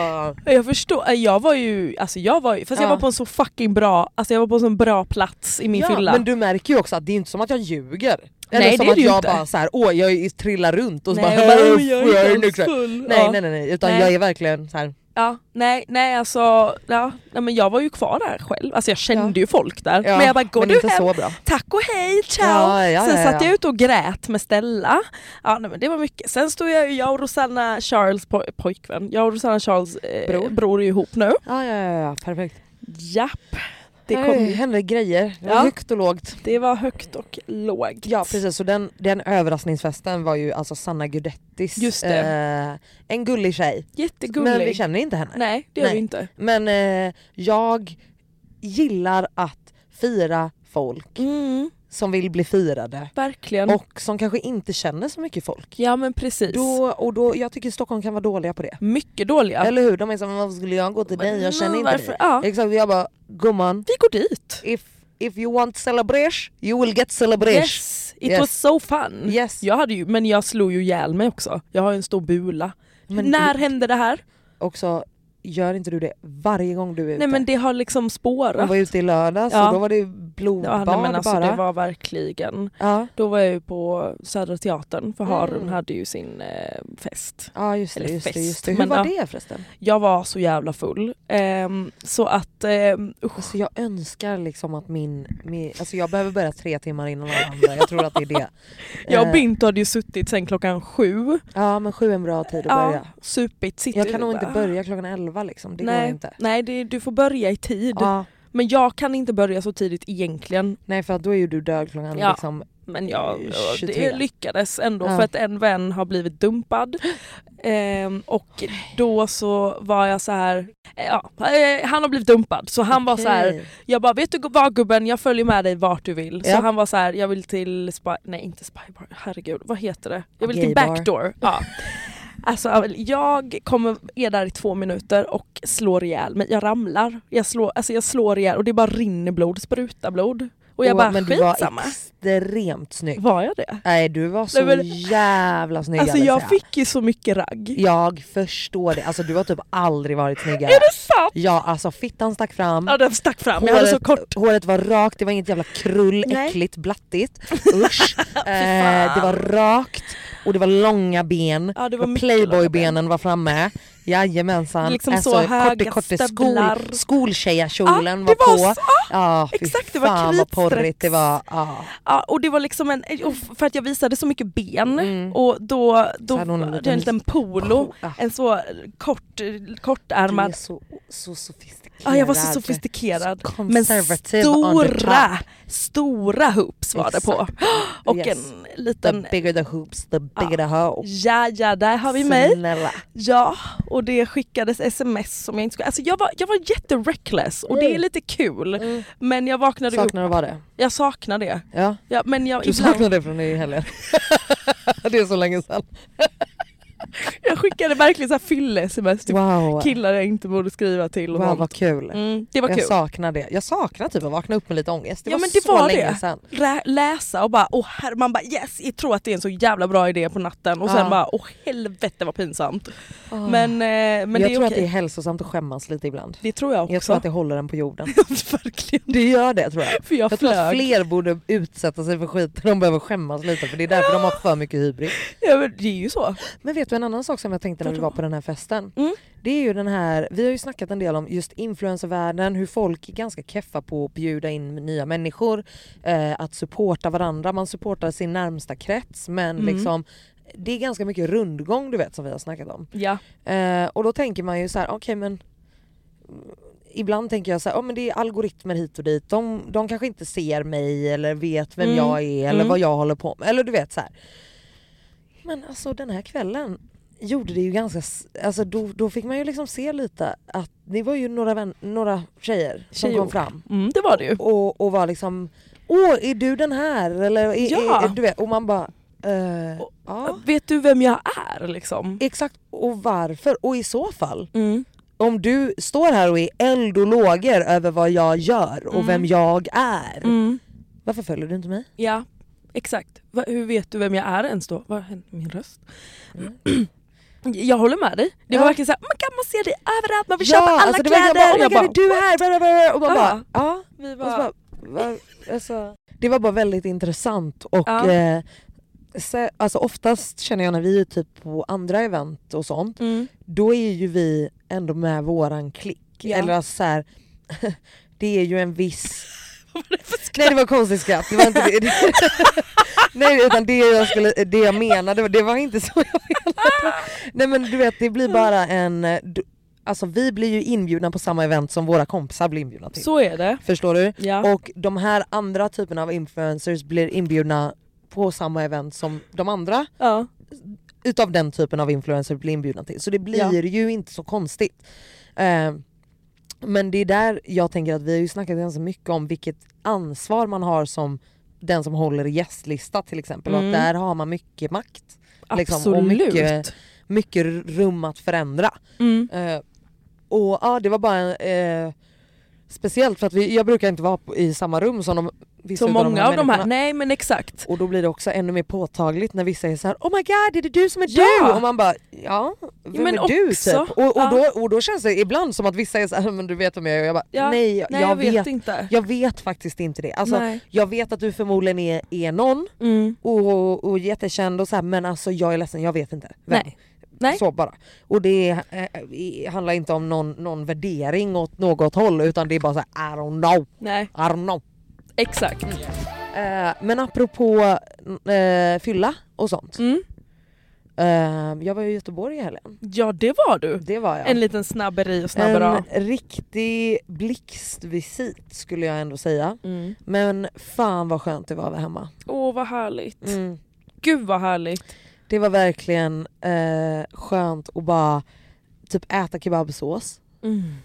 Speaker 1: jag förstår, eh, jag var ju, alltså jag var ju, fast jag
Speaker 2: Ja.
Speaker 1: var på en så fucking bra, alltså jag var på en så bra plats i min
Speaker 2: ja,
Speaker 1: fylla.
Speaker 2: Men du märker ju också att det är inte som att jag ljuger. Eller
Speaker 1: Nej,
Speaker 2: som
Speaker 1: det är
Speaker 2: att
Speaker 1: det ju
Speaker 2: jag
Speaker 1: inte.
Speaker 2: bara så här, åh jag är- trillar runt och så
Speaker 1: Nej,
Speaker 2: bara,
Speaker 1: jag bara,
Speaker 2: "Hej,
Speaker 1: "Oj, jag är inte
Speaker 2: nykter."
Speaker 1: alls full.
Speaker 2: Nej,
Speaker 1: Ja.
Speaker 2: nej nej nej utan
Speaker 1: Nej.
Speaker 2: jag är verkligen så här.
Speaker 1: Ja, nej, nej alltså, ja, nej, men jag var ju kvar där själv. Alltså jag kände ju folk där.
Speaker 2: Ja,
Speaker 1: men jag bara, går
Speaker 2: men
Speaker 1: du
Speaker 2: inte
Speaker 1: hem?
Speaker 2: så bra.
Speaker 1: Tack och hej, ciao!
Speaker 2: Ja, ja,
Speaker 1: Sen
Speaker 2: ja,
Speaker 1: satt
Speaker 2: ja.
Speaker 1: jag ute och grät med Stella. Ja, nej, men det var mycket. Sen stod jag, ju- jag och Rosanna Charles po- pojkvän, jag och Rosanna Charles eh, bror.
Speaker 2: Bror.
Speaker 1: är ju ihop nu.
Speaker 2: Ja ja ja, ja perfekt.
Speaker 1: Japp, det,
Speaker 2: Det
Speaker 1: kom,
Speaker 2: kom, hände grejer, det var
Speaker 1: Ja.
Speaker 2: högt och lågt.
Speaker 1: det var högt och lågt.
Speaker 2: Ja precis, så den, den överraskningsfesten var ju alltså Sanna Gudettis.
Speaker 1: Just
Speaker 2: Eh, en gullig tjej.
Speaker 1: Jättegullig.
Speaker 2: Men vi känner inte henne.
Speaker 1: nej, det gör
Speaker 2: Nej.
Speaker 1: vi inte.
Speaker 2: Men eh, jag gillar att fira folk
Speaker 1: Mm,
Speaker 2: som vill bli firade
Speaker 1: verkligen.
Speaker 2: och som kanske inte känner så mycket folk.
Speaker 1: ja men precis.
Speaker 2: Då, och då, jag tycker Stockholm kan vara dåliga på det.
Speaker 1: mycket dåliga.
Speaker 2: Eller hur? De är som varför skulle jag gå till dig? Jag känner inte
Speaker 1: Varför?
Speaker 2: dig.
Speaker 1: Ja.
Speaker 2: Exakt, jag bara gumman,
Speaker 1: Vi går dit.
Speaker 2: if, if you want celebration you will get celebration.
Speaker 1: Yes, it
Speaker 2: Yes.
Speaker 1: was so fun.
Speaker 2: Yes.
Speaker 1: Jag hade ju, men jag slog ju ihjäl mig också. Jag har ju en stor bula.
Speaker 2: Men
Speaker 1: När
Speaker 2: du-
Speaker 1: hände det här?
Speaker 2: Också, gör inte du det varje gång du är ute?
Speaker 1: Nej men det har liksom
Speaker 2: Jag
Speaker 1: spårat.
Speaker 2: var ute i lördags
Speaker 1: Ja.
Speaker 2: och då var det bl-
Speaker 1: Det var, nej, men
Speaker 2: blodbad
Speaker 1: alltså,
Speaker 2: bara.
Speaker 1: det var verkligen.
Speaker 2: Ja.
Speaker 1: Då var jag ju på Södra Teatern för
Speaker 2: Mm.
Speaker 1: Harun hade ju sin eh, fest.
Speaker 2: ja just det,
Speaker 1: Eller
Speaker 2: just det,
Speaker 1: fest,
Speaker 2: just det. Hur
Speaker 1: men
Speaker 2: var
Speaker 1: ja.
Speaker 2: det förresten?
Speaker 1: Jag var så jävla full. Ehm, så att ehm, usch.
Speaker 2: Alltså jag önskar liksom att min, min... Alltså jag behöver börja tre timmar innan alla andra, jag tror att det är det.
Speaker 1: (laughs) Jag och
Speaker 2: Eh,
Speaker 1: Binto hade ju suttit sen klockan sju.
Speaker 2: Ja men sju är en bra tid att
Speaker 1: Ja,
Speaker 2: börja.
Speaker 1: supit sitter
Speaker 2: Jag
Speaker 1: vi
Speaker 2: kan nog inte
Speaker 1: bara.
Speaker 2: börja klockan elva liksom, det
Speaker 1: Nej,
Speaker 2: går inte.
Speaker 1: nej typ. det, du får börja i tid.
Speaker 2: Ja,
Speaker 1: Men jag kan inte börja så tidigt egentligen.
Speaker 2: nej för att då är ju du död klockan
Speaker 1: Ja.
Speaker 2: liksom.
Speaker 1: Men jag,
Speaker 2: 23.
Speaker 1: det lyckades ändå
Speaker 2: Ja.
Speaker 1: för att en vän har blivit
Speaker 2: (gasps)
Speaker 1: dumpad. Ehm, och då så var jag så här, eh, ja, eh, han har blivit dumpad så han var så här,
Speaker 2: Okej.
Speaker 1: jag bara vet du vad gubben jag följer med dig vart du vill.
Speaker 2: Ja.
Speaker 1: Så han var så här, jag vill till, spy, nej inte spybar, herregud vad heter det? Jag vill till
Speaker 2: Gaybar.
Speaker 1: backdoor.
Speaker 2: (laughs)
Speaker 1: Ja. Alltså jag kommer, är där i två minuter och slår ihjäl mig. Jag ramlar, jag slår, alltså jag slår ihjäl och det bara rinner blod, sprutar blod. Och jag
Speaker 2: Åh,
Speaker 1: bara
Speaker 2: Men du
Speaker 1: skitsamma.
Speaker 2: var extremt snygg.
Speaker 1: Var jag det?
Speaker 2: Nej du var så
Speaker 1: Nej, men-
Speaker 2: jävla snygg
Speaker 1: Alltså
Speaker 2: Alicia.
Speaker 1: jag fick ju så mycket ragg.
Speaker 2: Jag förstår det, alltså du har typ aldrig varit snyggare.
Speaker 1: Är det sant?
Speaker 2: Ja alltså fittan stack fram,
Speaker 1: Ja den stack fram, jag hade så kort.
Speaker 2: håret var rakt, det var inget jävla krull,
Speaker 1: Nej.
Speaker 2: äckligt, blattigt.
Speaker 1: (laughs)
Speaker 2: Usch. eh, det var rakt och det var långa ben.
Speaker 1: Ja, det var
Speaker 2: Och
Speaker 1: mycket långa
Speaker 2: Playboy-benen var framme. Jajamensan.
Speaker 1: Liksom så höga
Speaker 2: skol,
Speaker 1: stövlar.
Speaker 2: Skoltjejarkjolen
Speaker 1: Ja,
Speaker 2: var
Speaker 1: det var
Speaker 2: på.
Speaker 1: så- ja,
Speaker 2: ja, fy
Speaker 1: exakt, det var
Speaker 2: fan vad porrigt
Speaker 1: kritstreck.
Speaker 2: det var. Ja.
Speaker 1: Ja, och det var liksom en, och för att jag visade så mycket ben och då, då
Speaker 2: Mm. Så hade hon en
Speaker 1: hade jag
Speaker 2: liten-
Speaker 1: en liten polo,
Speaker 2: Ja.
Speaker 1: en så kort,
Speaker 2: Du är
Speaker 1: kortärmad.
Speaker 2: så, så sofistikerad.
Speaker 1: Ja, jag var så sofistikerad.
Speaker 2: Så
Speaker 1: Men
Speaker 2: conservative on the
Speaker 1: stora, stora hoops var det på. (gasps) Och
Speaker 2: Yes.
Speaker 1: en
Speaker 2: The
Speaker 1: liten,
Speaker 2: bigger the hoops, the bigger the hoes.
Speaker 1: ja ja där har vi mig.
Speaker 2: Snälla.
Speaker 1: Ja, och det skickades sms som jag inte skulle... Alltså jag var, jag var jättereckless och det är lite kul. Men jag vaknade upp,
Speaker 2: Mm. Saknar att vara det.
Speaker 1: jag saknar det.
Speaker 2: Ja.
Speaker 1: Ja, men jag,
Speaker 2: Du
Speaker 1: ibland,
Speaker 2: saknar det från i helgen? (laughs) det är så länge sedan.
Speaker 1: jag skickade verkligen så här fylle-sms till
Speaker 2: Wow,
Speaker 1: killar jag inte borde skriva till. Typ Och
Speaker 2: wow
Speaker 1: sånt.
Speaker 2: vad kul.
Speaker 1: Mm, det var
Speaker 2: jag
Speaker 1: kul.
Speaker 2: saknar det. Jag saknar typ att vakna upp med lite ångest. Det
Speaker 1: ja
Speaker 2: var
Speaker 1: men det
Speaker 2: så
Speaker 1: var
Speaker 2: länge
Speaker 1: det.
Speaker 2: sedan.
Speaker 1: Rä- läsa och bara åh herre, man bara yes, jag tror att det är en så jävla bra idé på natten och sen
Speaker 2: Ja.
Speaker 1: bara åh helvete vad pinsamt. Men, eh, men
Speaker 2: Ah. jag
Speaker 1: det är
Speaker 2: tror
Speaker 1: okej.
Speaker 2: att det är hälsosamt att skämmas lite ibland.
Speaker 1: Det tror jag också.
Speaker 2: Jag tror att det håller en på jorden.
Speaker 1: (laughs) Verkligen.
Speaker 2: Det gör det tror jag.
Speaker 1: För jag,
Speaker 2: Jag tror att
Speaker 1: flög.
Speaker 2: fler borde utsätta sig för skit de behöver skämmas lite för det är därför de har för mycket hybris.
Speaker 1: Ja, men det är ju så.
Speaker 2: Men vet du en annan sak som jag tänkte när vi var på den här festen?
Speaker 1: Mm.
Speaker 2: Det är ju den här, vi har ju snackat en del om just influencervärlden, hur folk är ganska keffa på att bjuda in nya människor, eh, att supporta varandra, man supportar sin närmsta krets men liksom det är ganska mycket rundgång du vet som vi har snackat om.
Speaker 1: Ja.
Speaker 2: Eh, och då tänker man ju så här, okej men mm, Ibland tänker jag så här, "Ja, men det är algoritmer hit och dit, de, de kanske inte ser mig eller vet vem
Speaker 1: Mm.
Speaker 2: jag är eller
Speaker 1: Mm.
Speaker 2: vad jag håller på med. Eller du vet så här. Men alltså den här kvällen gjorde det ju ganska, s- alltså då, då fick man ju liksom se lite att det var ju några, vän, några tjejer som
Speaker 1: Tjejor.
Speaker 2: kom fram
Speaker 1: Mm, det var det ju.
Speaker 2: och, och var liksom, åh är du den här? Eller, är,
Speaker 1: Ja.
Speaker 2: är, du vet, och man bara, eh,
Speaker 1: Och-
Speaker 2: ja
Speaker 1: Vet du vem jag är liksom?
Speaker 2: exakt och varför? Och i så fall
Speaker 1: Mm.
Speaker 2: om du står här och är eld och lågor över vad jag gör och vem jag är,
Speaker 1: Mm.
Speaker 2: varför följer du inte mig?
Speaker 1: Ja, exakt. Va, hur vet du vem jag är ens då? Vad hände med min röst? Jag håller med dig. Det var
Speaker 2: Mm. Ja.
Speaker 1: verkligen såhär, man kan man se dig överallt, man vill köpa alla
Speaker 2: alltså det var
Speaker 1: kläder.
Speaker 2: jag bara, oh
Speaker 1: Jag
Speaker 2: my god är du här? Bla, bla, bla, bla. Och man
Speaker 1: Ja.
Speaker 2: bara, ja.
Speaker 1: vi
Speaker 2: Och så
Speaker 1: var,
Speaker 2: bara, va, alltså. Det var bara väldigt intressant och
Speaker 1: Ja.
Speaker 2: eh, se, alltså oftast känner jag när vi är typ på andra event och sånt,
Speaker 1: mm.
Speaker 2: då är ju vi ändå med våran klick.
Speaker 1: Ja.
Speaker 2: Eller alltså så här, (laughs) det är ju en viss
Speaker 1: (laughs) Vad var det för skratt?
Speaker 2: Nej det var konstigt skratt, det var inte det. (laughs) det. Nej utan det jag, skulle, det jag menade, det var inte så jag menade. Nej men du vet det blir bara en, eh, du- alltså vi blir ju inbjudna på samma event som våra kompisar blir inbjudna till.
Speaker 1: Så är det.
Speaker 2: Förstår du?
Speaker 1: Ja.
Speaker 2: Och de här andra typerna av influencers blir inbjudna på samma event som de andra
Speaker 1: Ja.
Speaker 2: utav den typen av influencers blir inbjudna till. Så det blir
Speaker 1: Ja.
Speaker 2: ju inte så konstigt. Eh, men det är där jag tänker att vi har ju snackat ganska mycket om vilket ansvar man har som den som håller i gästlista till exempel. Och
Speaker 1: Mm.
Speaker 2: att där har man mycket makt. Liksom, och
Speaker 1: Absolut.
Speaker 2: mycket- Mycket rum att förändra. Ehm,
Speaker 1: mm.
Speaker 2: Eh, och ja, det var bara eh, Speciellt för att vi, jag brukar inte vara på- i samma rum som de vissa
Speaker 1: Så
Speaker 2: utav
Speaker 1: många av Liksom de här,
Speaker 2: människorna.
Speaker 1: nej men exakt.
Speaker 2: Och då blir det också ännu mer påtagligt när vissa är så här: oh my god är det du som är
Speaker 1: Ja!
Speaker 2: du? Och man bara ja, vem
Speaker 1: men
Speaker 2: är du
Speaker 1: också,
Speaker 2: typ? Och, och,
Speaker 1: ja.
Speaker 2: då, och då känns det ibland som att vissa är såhär, men du vet vem jag är och jag bara
Speaker 1: Ja,
Speaker 2: nej, jag,
Speaker 1: Nej jag,
Speaker 2: jag
Speaker 1: vet,
Speaker 2: vet,
Speaker 1: inte.
Speaker 2: jag vet faktiskt inte det. Alltså,
Speaker 1: nej.
Speaker 2: jag vet att du förmodligen är, är någon
Speaker 1: Mm.
Speaker 2: och, och jättekänd och så här, men alltså jag är ledsen jag vet inte. Vem?
Speaker 1: Nej. Nej.
Speaker 2: Så bara. Och det är, eh, i- handlar inte om någon, någon värdering åt något håll utan det är bara så här, I don't know,
Speaker 1: nej,
Speaker 2: I don't know.
Speaker 1: exakt.
Speaker 2: Eh, men apropå eh, fylla och sånt.
Speaker 1: Mm.
Speaker 2: Eh, jag var ju i Göteborg i helgen.
Speaker 1: Ja det var du.
Speaker 2: Det var jag.
Speaker 1: En liten snabberi och snabbera.
Speaker 2: en riktig blixtvisit skulle jag ändå säga.
Speaker 1: Åh mm.
Speaker 2: Men fan vad skönt det var att vara hemma.
Speaker 1: Åh, vad härligt.
Speaker 2: Mm.
Speaker 1: Gud vad härligt.
Speaker 2: Det var verkligen eh, skönt att bara typ äta kebabsås.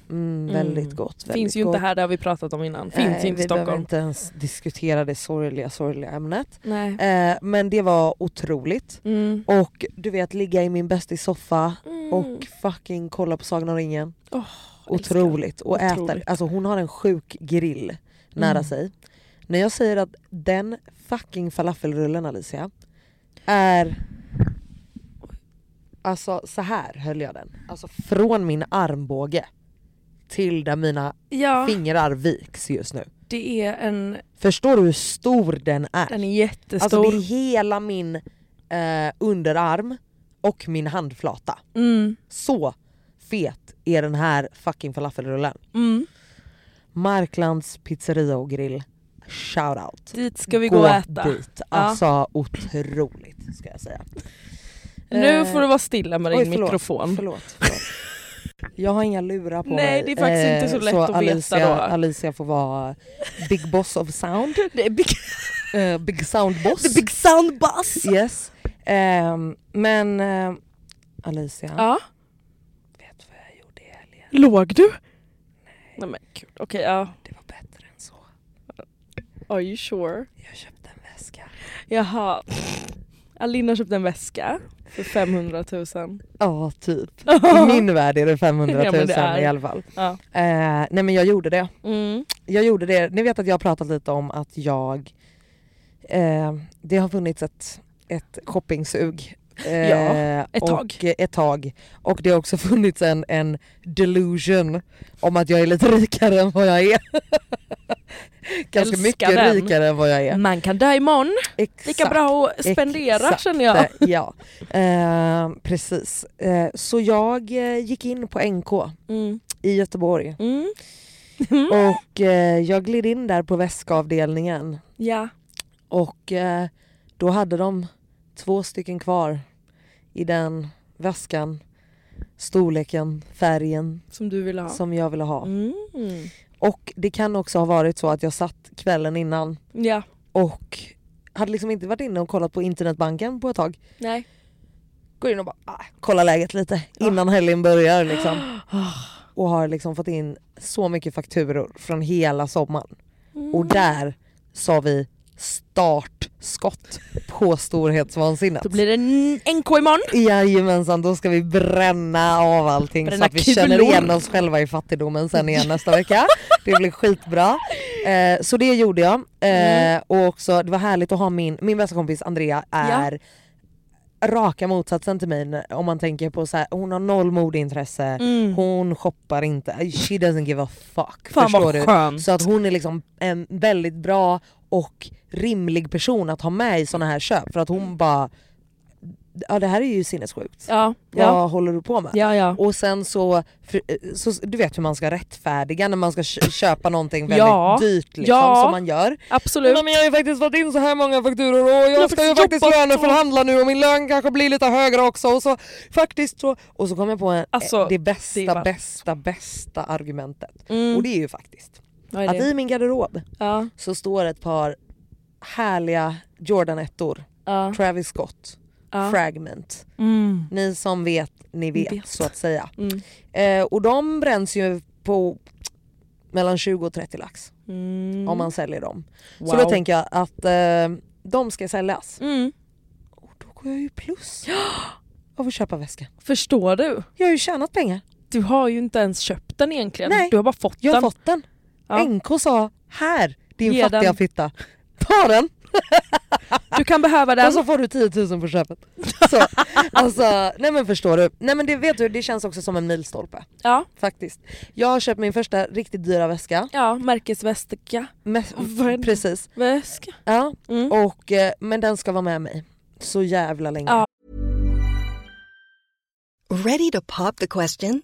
Speaker 2: Mm, väldigt
Speaker 1: Mm.
Speaker 2: gott. Väldigt
Speaker 1: Finns ju
Speaker 2: gott.
Speaker 1: inte här, det har vi pratat om innan. Finns
Speaker 2: Nej,
Speaker 1: inte i
Speaker 2: Vi behöver
Speaker 1: Stockholm.
Speaker 2: inte ens diskutera det sorgliga, sorgliga ämnet.
Speaker 1: Nej.
Speaker 2: Eh, men det var otroligt.
Speaker 1: Mm.
Speaker 2: Och du vet ligga i min bästis soffa
Speaker 1: Mm.
Speaker 2: och fucking kolla på Sagan om ringen.
Speaker 1: Åh,
Speaker 2: Otroligt. Och äta.
Speaker 1: Otroligt.
Speaker 2: Alltså hon har en sjuk grill nära
Speaker 1: Mm.
Speaker 2: sig. När jag säger att den fucking falafelrullen Alicia är Alltså så här höll jag den. Alltså från min armbåge till där mina
Speaker 1: Ja,
Speaker 2: fingrar viks just nu.
Speaker 1: det är en...
Speaker 2: Förstår du hur stor den är?
Speaker 1: Den är jättestor.
Speaker 2: Alltså det är hela min eh, underarm och min handflata.
Speaker 1: mm.
Speaker 2: Så fet är den här fucking falafelrullen.
Speaker 1: Mm.
Speaker 2: Marklands pizzeria och grill. Shout out.
Speaker 1: Dit ska vi gå och äta.
Speaker 2: dit. Alltså otroligt ska jag säga.
Speaker 1: Nu
Speaker 2: Eh,
Speaker 1: får du vara stilla med din
Speaker 2: oj, förlåt,
Speaker 1: mikrofon.
Speaker 2: Förlåt. förlåt. Jag har inga lurar på
Speaker 1: Nej,
Speaker 2: mig. Eh,
Speaker 1: det är faktiskt inte så lätt att veta
Speaker 2: Alicia,
Speaker 1: då.
Speaker 2: Alicia får vara big boss of sound.
Speaker 1: (laughs) Det är big,
Speaker 2: (laughs) Eh,
Speaker 1: (laughs)
Speaker 2: big sound boss.
Speaker 1: sound boss!
Speaker 2: Yes. Ehm, men eh, Alicia,
Speaker 1: Ja.
Speaker 2: vet du vad jag gjorde i helgen?
Speaker 1: Låg du? Nej men gud, okej ja.
Speaker 2: Det var bättre än så.
Speaker 1: Are you sure?
Speaker 2: Jag köpte en väska.
Speaker 1: Jaha. Alinda köpte en väska för 500 000.
Speaker 2: Ja, typ.
Speaker 1: (laughs)
Speaker 2: I (laughs) min värld är det 500
Speaker 1: Ja,
Speaker 2: 000
Speaker 1: men det är.
Speaker 2: i alla fall.
Speaker 1: Ja.
Speaker 2: Eh, nej men jag gjorde det.
Speaker 1: Mm.
Speaker 2: Jag gjorde det. Ni vet att jag har pratat lite om att jag... Eh, det har funnits ett, ett shoppingsug. eh,
Speaker 1: Ja, ett tag.
Speaker 2: Och, ett tag. Och det har också (laughs) funnits en, en delusion om att jag är lite rikare än vad jag är. (laughs) Ganska
Speaker 1: Älskar
Speaker 2: mycket
Speaker 1: den.
Speaker 2: rikare än vad jag är.
Speaker 1: Man kan dö imorgon,
Speaker 2: Exakt.
Speaker 1: lika bra att spendera
Speaker 2: Exakt.
Speaker 1: känner jag.
Speaker 2: Ja, eh, precis. Eh, så jag eh, gick in på NK
Speaker 1: Mm.
Speaker 2: i Göteborg
Speaker 1: Mm. Mm.
Speaker 2: och eh, jag gled in där på väskavdelningen
Speaker 1: Ja.
Speaker 2: Och eh, då hade de två stycken kvar i den väskan, storleken, färgen
Speaker 1: Som du ville ha.
Speaker 2: som jag ville ha.
Speaker 1: Mm.
Speaker 2: Och det kan också ha varit så att jag satt kvällen innan
Speaker 1: Ja.
Speaker 2: och hade liksom inte varit inne och kollat på internetbanken på ett tag.
Speaker 1: Nej.
Speaker 2: Går in och bara ah, kollar läget lite innan helgen börjar liksom. Och har liksom fått in så mycket fakturor från hela sommaren. Och
Speaker 1: Mm.
Speaker 2: där sa vi startskott på storhetsvansinnet.
Speaker 1: Då blir det en NK imorgon.
Speaker 2: Jajamensan, då ska vi bränna av allting så
Speaker 1: Bränna
Speaker 2: att vi
Speaker 1: kulor.
Speaker 2: känner igen oss själva i fattigdomen sen igen nästa vecka. Det blir skitbra. Eh, så det gjorde jag.
Speaker 1: Mm.
Speaker 2: Eh, och också, det var härligt att ha min, min bästa kompis Andrea är raka motsatsen till mig när- om man tänker på så här, hon har noll modeintresse, hon shoppar inte, she doesn't give a fuck.
Speaker 1: Mm. Fan
Speaker 2: förstår
Speaker 1: vad
Speaker 2: du?
Speaker 1: skönt.
Speaker 2: Så att hon är liksom en väldigt bra och rimlig person att ha med i såna här köp för att hon bara Ja det här är ju sinnessjukt.
Speaker 1: Mm. Ja. Ja.
Speaker 2: Vad håller du på med?
Speaker 1: Ja ja.
Speaker 2: Och sen så, för, eh, så, du vet hur man ska rättfärdiga när man ska kö- köpa någonting väldigt
Speaker 1: Ja.
Speaker 2: dyrt liksom,
Speaker 1: Ja.
Speaker 2: som man gör.
Speaker 1: Absolut.
Speaker 2: men jag har ju faktiskt fått in så här många fakturor och jag,
Speaker 1: har
Speaker 2: ska ju
Speaker 1: faktiskt
Speaker 2: faktiskt
Speaker 1: jobbat
Speaker 2: löneförhandla nu och min lön kanske blir lite högre också och så faktiskt så... Och så kom jag på en,
Speaker 1: Alltså,
Speaker 2: eh, det bästa,
Speaker 1: det är bara-
Speaker 2: bästa, bästa argumentet.
Speaker 1: Mm.
Speaker 2: Och det är ju faktiskt
Speaker 1: Vad är
Speaker 2: att
Speaker 1: det?
Speaker 2: i min garderob
Speaker 1: Ja.
Speaker 2: så står ett par härliga Jordan-ettor,
Speaker 1: Ja.
Speaker 2: Travis Scott,
Speaker 1: Ja.
Speaker 2: Fragment.
Speaker 1: Mm.
Speaker 2: Ni som vet, ni vet,
Speaker 1: Vet.
Speaker 2: så att säga.
Speaker 1: Mm.
Speaker 2: Eh, och de bränns ju på mellan 20 och 30 lax
Speaker 1: Mm.
Speaker 2: om man säljer dem. Så
Speaker 1: Wow.
Speaker 2: då tänker jag att eh, de ska säljas.
Speaker 1: Mm.
Speaker 2: Och då går jag ju plus av att köpa väskan.
Speaker 1: Förstår du?
Speaker 2: Jag har ju tjänat pengar.
Speaker 1: Du har ju inte ens köpt den egentligen.
Speaker 2: Nej.
Speaker 1: Du har bara fått
Speaker 2: Jag har
Speaker 1: den.
Speaker 2: fått den.
Speaker 1: Ja.
Speaker 2: NK sa här din
Speaker 1: Ge
Speaker 2: fattiga
Speaker 1: den.
Speaker 2: fitta, ta den!
Speaker 1: Du kan behöva den.
Speaker 2: Och så får du 10 000 på köpet. (laughs) Så, alltså, nej men förstår du. Nej men det vet du, det känns också som en milstolpe
Speaker 1: ja.
Speaker 2: faktiskt. Jag har köpt min första riktigt dyra väska.
Speaker 1: ja, märkesväska.
Speaker 2: Med,
Speaker 1: Vad är det?
Speaker 2: precis.
Speaker 1: Väska.
Speaker 2: Ja.
Speaker 1: Mm.
Speaker 2: Och, eh, men den ska vara med mig så jävla länge.
Speaker 1: Ja.
Speaker 3: Ready to pop the question?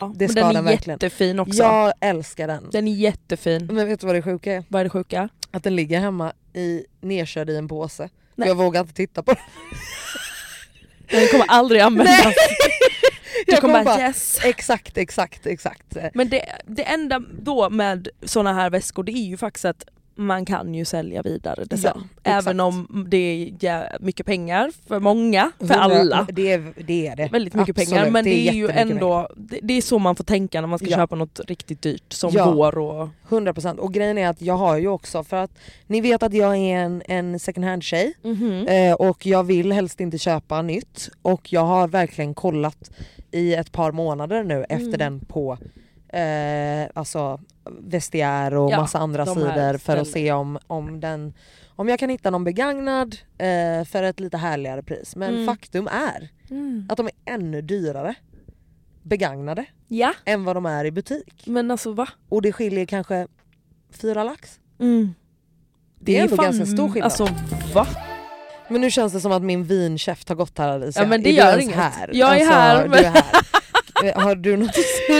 Speaker 1: Ja,
Speaker 2: Det
Speaker 1: men
Speaker 2: ska
Speaker 1: den är
Speaker 2: den verkligen. Mm.
Speaker 1: jättefin också.
Speaker 2: Jag älskar den.
Speaker 1: Den är jättefin.
Speaker 2: Men vet du vad det sjuka är?
Speaker 1: Vad är det sjuka?
Speaker 2: Att den ligger hemma i, nedkörd i en påse.
Speaker 1: Nej.
Speaker 2: Jag vågar inte titta på den. (laughs)
Speaker 1: Den kommer aldrig användas. Du kommer
Speaker 2: Jag kommer
Speaker 1: bara
Speaker 2: bara,
Speaker 1: yes.
Speaker 2: exakt, exakt, exakt.
Speaker 1: Men det, det enda då med såna här väskor det är ju faktiskt att man kan ju sälja vidare det sen.
Speaker 2: Ja, exakt.
Speaker 1: Även om det är jä- mycket pengar för många, för
Speaker 2: Hundra-
Speaker 1: alla.
Speaker 2: Det är det. Är det.
Speaker 1: Väldigt mycket
Speaker 2: Absolut,
Speaker 1: pengar men det är, ju
Speaker 2: jättemycket
Speaker 1: ändå, det, det är så man får tänka när man ska
Speaker 2: Ja.
Speaker 1: köpa något riktigt dyrt som
Speaker 2: Ja.
Speaker 1: vår och...
Speaker 2: pengar. 100% och grejen är att jag har ju också för att ni vet att jag är en, en second hand tjej eh, och jag vill helst inte köpa nytt och jag har verkligen kollat i ett par månader nu efter
Speaker 1: Mm.
Speaker 2: den på eh, alltså vestiär och
Speaker 1: Ja,
Speaker 2: massa andra
Speaker 1: de här
Speaker 2: sidor för
Speaker 1: ställena.
Speaker 2: att se om, om, den, om jag kan hitta någon begagnad eh, för ett lite härligare pris. Men
Speaker 1: Mm.
Speaker 2: faktum är att de är ännu dyrare begagnade
Speaker 1: Ja,
Speaker 2: än vad de är i butik.
Speaker 1: men alltså va?
Speaker 2: Och det skiljer kanske fyra lax.
Speaker 1: Mm.
Speaker 2: Det är ändå ganska stor skillnad.
Speaker 1: Alltså va?
Speaker 2: Men nu känns det som att min vinkäft har gått här Alicia.
Speaker 1: Ja, men det
Speaker 2: är du
Speaker 1: gör
Speaker 2: ens
Speaker 1: inget.
Speaker 2: Här? Alltså,
Speaker 1: Jag är här,
Speaker 2: Du är
Speaker 1: men-
Speaker 2: här. (laughs) Eh, har du något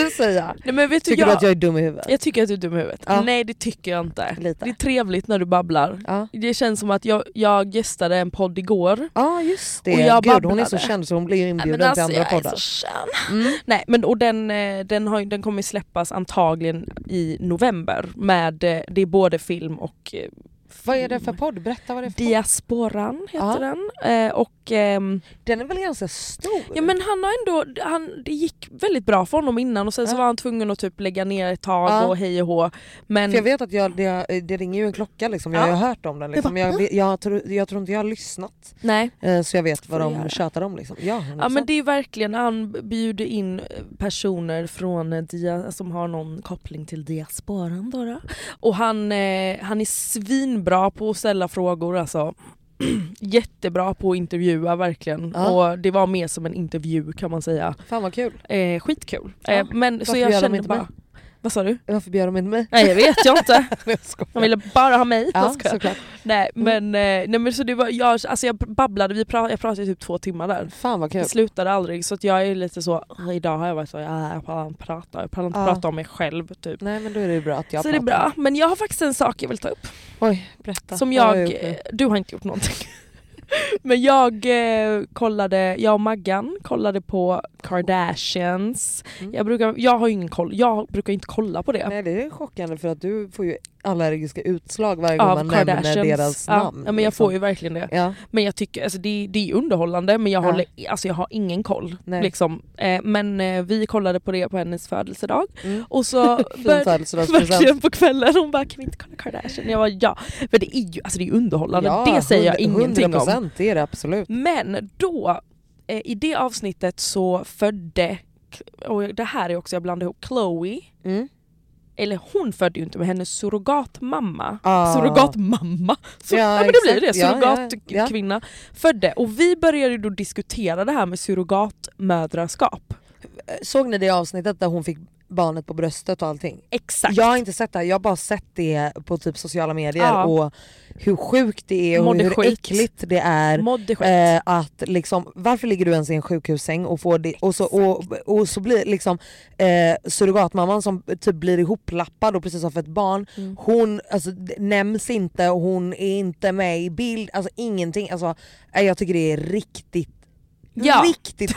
Speaker 2: att säga?
Speaker 1: Nej, men vet du,
Speaker 2: Tycker
Speaker 1: jag,
Speaker 2: du att jag är dum i huvudet?
Speaker 1: jag tycker att du är dum i huvudet.
Speaker 2: Ja.
Speaker 1: Nej det tycker jag inte.
Speaker 2: Lite.
Speaker 1: Det är trevligt när du babblar.
Speaker 2: Ja.
Speaker 1: Det känns som att jag, jag gästade en podd igår
Speaker 2: Ja just det,
Speaker 1: Och jag
Speaker 2: gud hon är
Speaker 1: babblade.
Speaker 2: så känd så hon blir
Speaker 1: Nej,
Speaker 2: ju
Speaker 1: alltså,
Speaker 2: inbjuden till andra
Speaker 1: jag är
Speaker 2: poddar. Mm.
Speaker 1: så Mm. skön. Nej men och den, eh, den, har, ju- den kommer ju släppas antagligen i november med, eh, det är både film och eh,
Speaker 2: Vad är det för podd? Berätta vad det är för podd.
Speaker 1: Diasporan heter
Speaker 2: Ja.
Speaker 1: den. Eh, och, ehm,
Speaker 2: Den är väl ganska stor?
Speaker 1: ja men han har ändå, han, det gick väldigt bra för honom innan och sen så
Speaker 2: Ja.
Speaker 1: var han tvungen att typ lägga ner ett tag
Speaker 2: Ja.
Speaker 1: och hej och hå. Men
Speaker 2: För jag vet att jag, det, det ringer ju en klocka liksom, jag
Speaker 1: Ja.
Speaker 2: har ju hört om den. Liksom.
Speaker 1: bara,
Speaker 2: Jag, vet- jag, tror, jag tror inte jag har lyssnat
Speaker 1: nej.
Speaker 2: eh, så jag vet vad
Speaker 1: Får
Speaker 2: de
Speaker 1: göra.
Speaker 2: tjatar om. Liksom. Ja,
Speaker 1: Ja men det är verkligen, han bjuder in eh, personer från eh, dia, som har någon koppling till diasporan då. då. Och han, eh, han är svinbra på att ställa frågor alltså. (clears throat) Jättebra på att intervjua verkligen.
Speaker 2: Ja.
Speaker 1: Och det var mer som en intervju kan man säga.
Speaker 2: Fan vad kul.
Speaker 1: Eh, skitkul.
Speaker 2: Ja.
Speaker 1: Eh, men så
Speaker 2: Varför
Speaker 1: jag
Speaker 2: gör de
Speaker 1: kände
Speaker 2: inte
Speaker 1: bara...
Speaker 2: mig?
Speaker 1: Vad sa du?
Speaker 2: Varför bjöd de inte mig? (laughs)
Speaker 1: Nej jag vet jag inte.
Speaker 2: Jag skojar.
Speaker 1: De ville bara ha mig.
Speaker 2: Ja
Speaker 1: Jag skojar.
Speaker 2: såklart.
Speaker 1: nej, men, eh, nej men så det var, jag, alltså jag babblade, vi pra, jag pratade i typ två timmar där.
Speaker 2: Fan vad kul.
Speaker 1: Jag slutade aldrig så att jag är lite så, idag har jag varit så, "Ah, jag pallar inte prata, jag pallar inte
Speaker 2: Ja.
Speaker 1: prata om mig själv typ.
Speaker 2: Nej men då är det ju bra att jag
Speaker 1: så det är
Speaker 2: pratar.
Speaker 1: bra, men jag har faktiskt en sak jag vill ta upp.
Speaker 2: Oj, berätta.
Speaker 1: Som
Speaker 2: Vad har
Speaker 1: jag, eh,
Speaker 2: gjort nu?
Speaker 1: du har inte gjort någonting. (laughs) men jag eh, kollade, jag och Maggan kollade på Kardashians.
Speaker 2: Mm.
Speaker 1: Jag, brukar, jag har ju ingen koll, jag brukar inte kolla på det.
Speaker 2: Nej det är chockande för att du får ju allergiska utslag varje gång
Speaker 1: Av
Speaker 2: man nämner deras
Speaker 1: Kardashians. Ja,
Speaker 2: namn. liksom.
Speaker 1: ja, men jag får ju verkligen det.
Speaker 2: Ja.
Speaker 1: Men jag tycker, alltså det, det är ju underhållande men jag,
Speaker 2: Ja.
Speaker 1: håller, alltså jag har ingen koll.
Speaker 2: Nej.
Speaker 1: Liksom. Eh, men eh, vi kollade på det på hennes födelsedag
Speaker 2: Mm.
Speaker 1: och så
Speaker 2: (laughs) Fin
Speaker 1: började
Speaker 2: födelsedagspresent.
Speaker 1: Verkligen på kvällen, hon bara kan vi inte kolla Kardashian? Jag bara ja, för det är ju alltså det är ju underhållande, det säger jag
Speaker 2: hund-
Speaker 1: ingenting om.
Speaker 2: 100% det är det absolut.
Speaker 1: Men då, eh, i det avsnittet så födde, och det här är också jag blandar ihop, Chloe,
Speaker 2: Mm.
Speaker 1: eller hon födde ju inte men hennes surrogatmamma,
Speaker 2: Ah.
Speaker 1: surrogatmamma, så,
Speaker 2: Ja,
Speaker 1: ja, men det blir det,
Speaker 2: exakt. Ja, ja, ja.
Speaker 1: surrogatkvinna, födde. Och vi började ju då diskutera det här med surrogatmödraskap.
Speaker 2: Såg ni det avsnittet där hon fick barnet på bröstet och allting.
Speaker 1: Exakt.
Speaker 2: Jag har inte sett det, här, jag har bara sett det på typ sociala medier
Speaker 1: Ja.
Speaker 2: och hur sjukt det är och
Speaker 1: Mådde
Speaker 2: hur
Speaker 1: skit.
Speaker 2: äckligt det är.
Speaker 1: Mådde skit.
Speaker 2: Eh, att liksom, varför ligger du ens i en sjukhussäng och får det, och så, och, och så blir liksom eh, surrogatmamman som typ blir ihoplappad och precis har fått barn,
Speaker 1: Mm.
Speaker 2: hon alltså, d- nämns inte och hon är inte med i bild, alltså ingenting. Alltså, eh, jag tycker det är riktigt,
Speaker 1: Ja.
Speaker 2: riktigt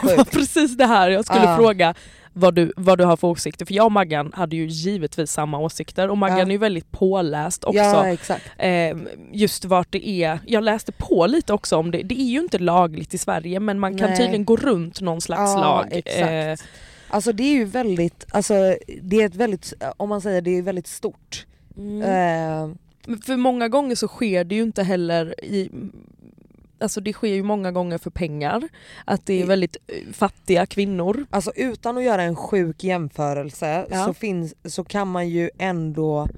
Speaker 1: (laughs) Det var
Speaker 2: sjukt. Ah.
Speaker 1: precis det här jag skulle
Speaker 2: Ja.
Speaker 1: fråga vad du, vad du har för åsikter. För jag och Maggan hade ju givetvis samma åsikter och Maggan
Speaker 2: Ja.
Speaker 1: är ju väldigt påläst också.
Speaker 2: Ja exakt.
Speaker 1: Eh, just vart det är, jag läste på lite också om det, det är ju inte lagligt i Sverige men man kan
Speaker 2: Nej.
Speaker 1: tydligen gå runt någon slags
Speaker 2: Ja,
Speaker 1: lag.
Speaker 2: exakt.
Speaker 1: Eh,
Speaker 2: Alltså det är ju väldigt, alltså, det är ett väldigt, om man säger det är väldigt stort.
Speaker 1: Mm.
Speaker 2: Eh,
Speaker 1: men för många gånger så sker det ju inte heller i Alltså det sker ju många gånger för pengar, att det är väldigt eh, fattiga kvinnor.
Speaker 2: Alltså utan att göra en sjuk jämförelse
Speaker 1: Ja.
Speaker 2: så, finns, så kan man ju ändå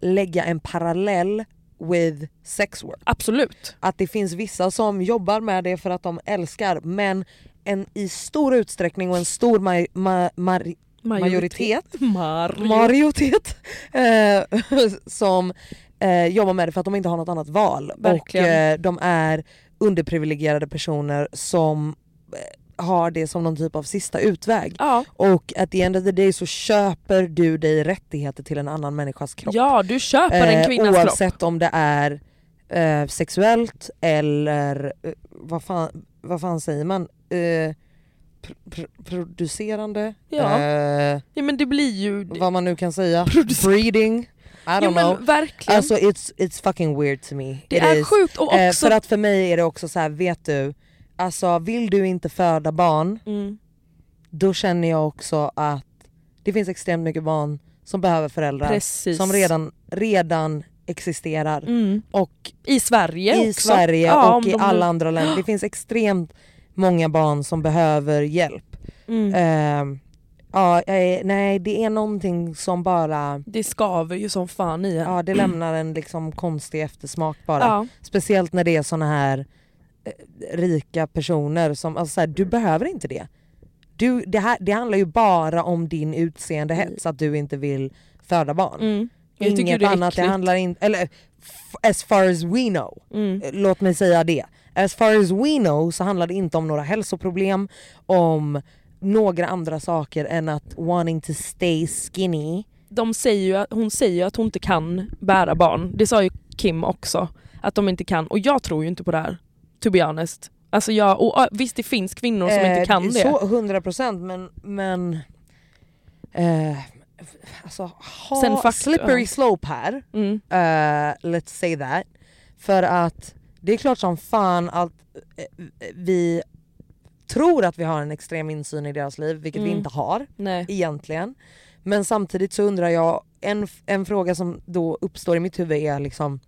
Speaker 2: lägga en parallell with sex work.
Speaker 1: Absolut.
Speaker 2: Att det finns vissa som jobbar med det för att de älskar men en, i stor utsträckning och en stor maj, ma, mar, majoritet
Speaker 1: Majoritet.
Speaker 2: majoritet eh, (laughs) som eh, jobbar med det för att de inte har något annat val.
Speaker 1: Verkligen.
Speaker 2: Och eh, de är underprivilegierade personer som eh, har det som någon typ av sista utväg.
Speaker 1: Ja.
Speaker 2: Och at the end of the day så köper du dig rättigheter till en annan människas kropp.
Speaker 1: ja, du köper en
Speaker 2: Eh,
Speaker 1: kvinnas kropp.
Speaker 2: oavsett om det är eh, sexuellt eller eh, vad, fan, vad fan säger man? Eh, pr- pr- producerande?
Speaker 1: Ja.
Speaker 2: Eh,
Speaker 1: Ja men det blir ju...
Speaker 2: vad man nu kan säga. Breeding. I don't
Speaker 1: jo men
Speaker 2: know.
Speaker 1: verkligen.
Speaker 2: Alltså it's, it's fucking weird to me.
Speaker 1: det
Speaker 2: It
Speaker 1: är
Speaker 2: is.
Speaker 1: sjukt (laughs) och
Speaker 2: Eh,
Speaker 1: också...
Speaker 2: för att för mig är det också så här, vet du, alltså vill du inte föda barn,
Speaker 1: mm,
Speaker 2: då känner jag också att det finns extremt mycket barn som behöver föräldrar
Speaker 1: precis.
Speaker 2: som redan, redan existerar.
Speaker 1: Mm.
Speaker 2: Och
Speaker 1: I Sverige
Speaker 2: i
Speaker 1: också.
Speaker 2: Sverige
Speaker 1: Ja,
Speaker 2: och
Speaker 1: om
Speaker 2: i
Speaker 1: de nu-
Speaker 2: alla andra länder,
Speaker 1: (gasps)
Speaker 2: det finns extremt många barn som behöver hjälp.
Speaker 1: Mm.
Speaker 2: Eh, ja, jag är- nej det är någonting som bara
Speaker 1: Det skaver ju som fan i en.
Speaker 2: Ja det lämnar en liksom konstig eftersmak bara.
Speaker 1: Mm. Ja.
Speaker 2: Speciellt när det är såna här eh, rika personer som, alltså så här, du behöver inte det. Du, det, här, det handlar ju bara om din utseendehets, att du inte vill föda barn.
Speaker 1: Mm. Jag tycker
Speaker 2: Inget
Speaker 1: det är
Speaker 2: annat, det
Speaker 1: äckligt.
Speaker 2: handlar inte, eller f- as far as we know,
Speaker 1: Mm.
Speaker 2: Eh, låt mig säga det. As far as we know så handlar det inte om några hälsoproblem, om några andra saker än att wanting to stay skinny
Speaker 1: De säger ju, att- hon säger ju att hon inte kan bära barn. Det sa ju Kim också. Att de inte kan. Och jag tror ju inte på det här. To be honest. Alltså jag, och, ja, visst det finns kvinnor som inte
Speaker 2: Eh,
Speaker 1: kan det.
Speaker 2: Så 100 procent men, men eh, alltså ha
Speaker 1: Sen fakt-
Speaker 2: slippery
Speaker 1: ja.
Speaker 2: slope här,
Speaker 1: Mm.
Speaker 2: eh, let's say that. För att det är klart som fan att eh, vi tror att vi har en extrem insyn i deras liv, vilket vi
Speaker 1: Mm.
Speaker 2: inte har
Speaker 1: Nej.
Speaker 2: egentligen. Men samtidigt så undrar jag, en, en fråga som då uppstår i mitt huvud är liksom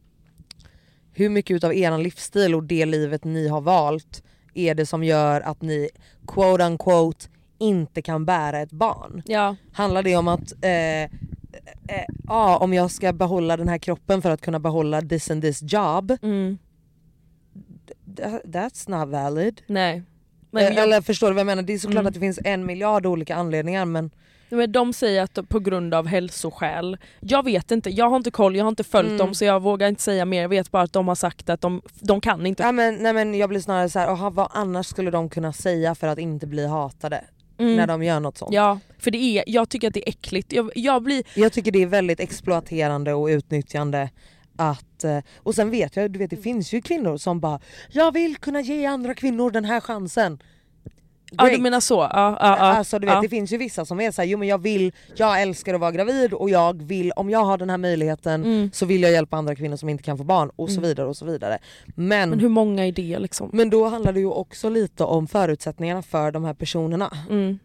Speaker 2: hur mycket utav er livsstil och det livet ni har valt är det som gör att ni quote unquote inte kan bära ett barn?
Speaker 1: Ja.
Speaker 2: Handlar det om att eh, eh, ja, om jag ska behålla den här kroppen för att kunna behålla this and this job,
Speaker 1: Mm.
Speaker 2: tha- that's not valid.
Speaker 1: Nej.
Speaker 2: Eh,
Speaker 1: Men, jag,
Speaker 2: Eller förstår du vad jag menar? Det är såklart
Speaker 1: Mm.
Speaker 2: att det finns en miljard olika anledningar men
Speaker 1: men de säger att på grund av hälsoskäl. Jag vet inte, jag har inte koll, jag har inte följt
Speaker 2: Mm.
Speaker 1: dem så jag vågar inte säga mer. Jag vet bara att de har sagt att de, de kan inte.
Speaker 2: Ja, men, nej, men jag blir snarare så här, aha, vad annars skulle de kunna säga för att inte bli hatade
Speaker 1: Mm.
Speaker 2: när de gör något sånt?
Speaker 1: Ja, för det är, jag tycker att det är äckligt. Jag, jag blir...
Speaker 2: Jag tycker det är väldigt exploaterande och utnyttjande att, eh, och sen vet jag, du vet
Speaker 1: Mm.
Speaker 2: det finns ju kvinnor som bara “jag vill kunna ge andra kvinnor den här chansen”.
Speaker 1: Ja du
Speaker 2: Great.
Speaker 1: menar så? Ja, ja, ja.
Speaker 2: Alltså du vet
Speaker 1: ja.
Speaker 2: det finns ju vissa som är såhär, jo men jag vill, jag älskar att vara gravid och jag vill, om jag har den här möjligheten
Speaker 1: Mm.
Speaker 2: så vill jag hjälpa andra kvinnor som inte kan få barn och så
Speaker 1: Mm.
Speaker 2: vidare och så vidare. Men,
Speaker 1: Men hur många är det liksom?
Speaker 2: men då handlar det ju också lite om förutsättningarna för de här personerna.
Speaker 1: Mm.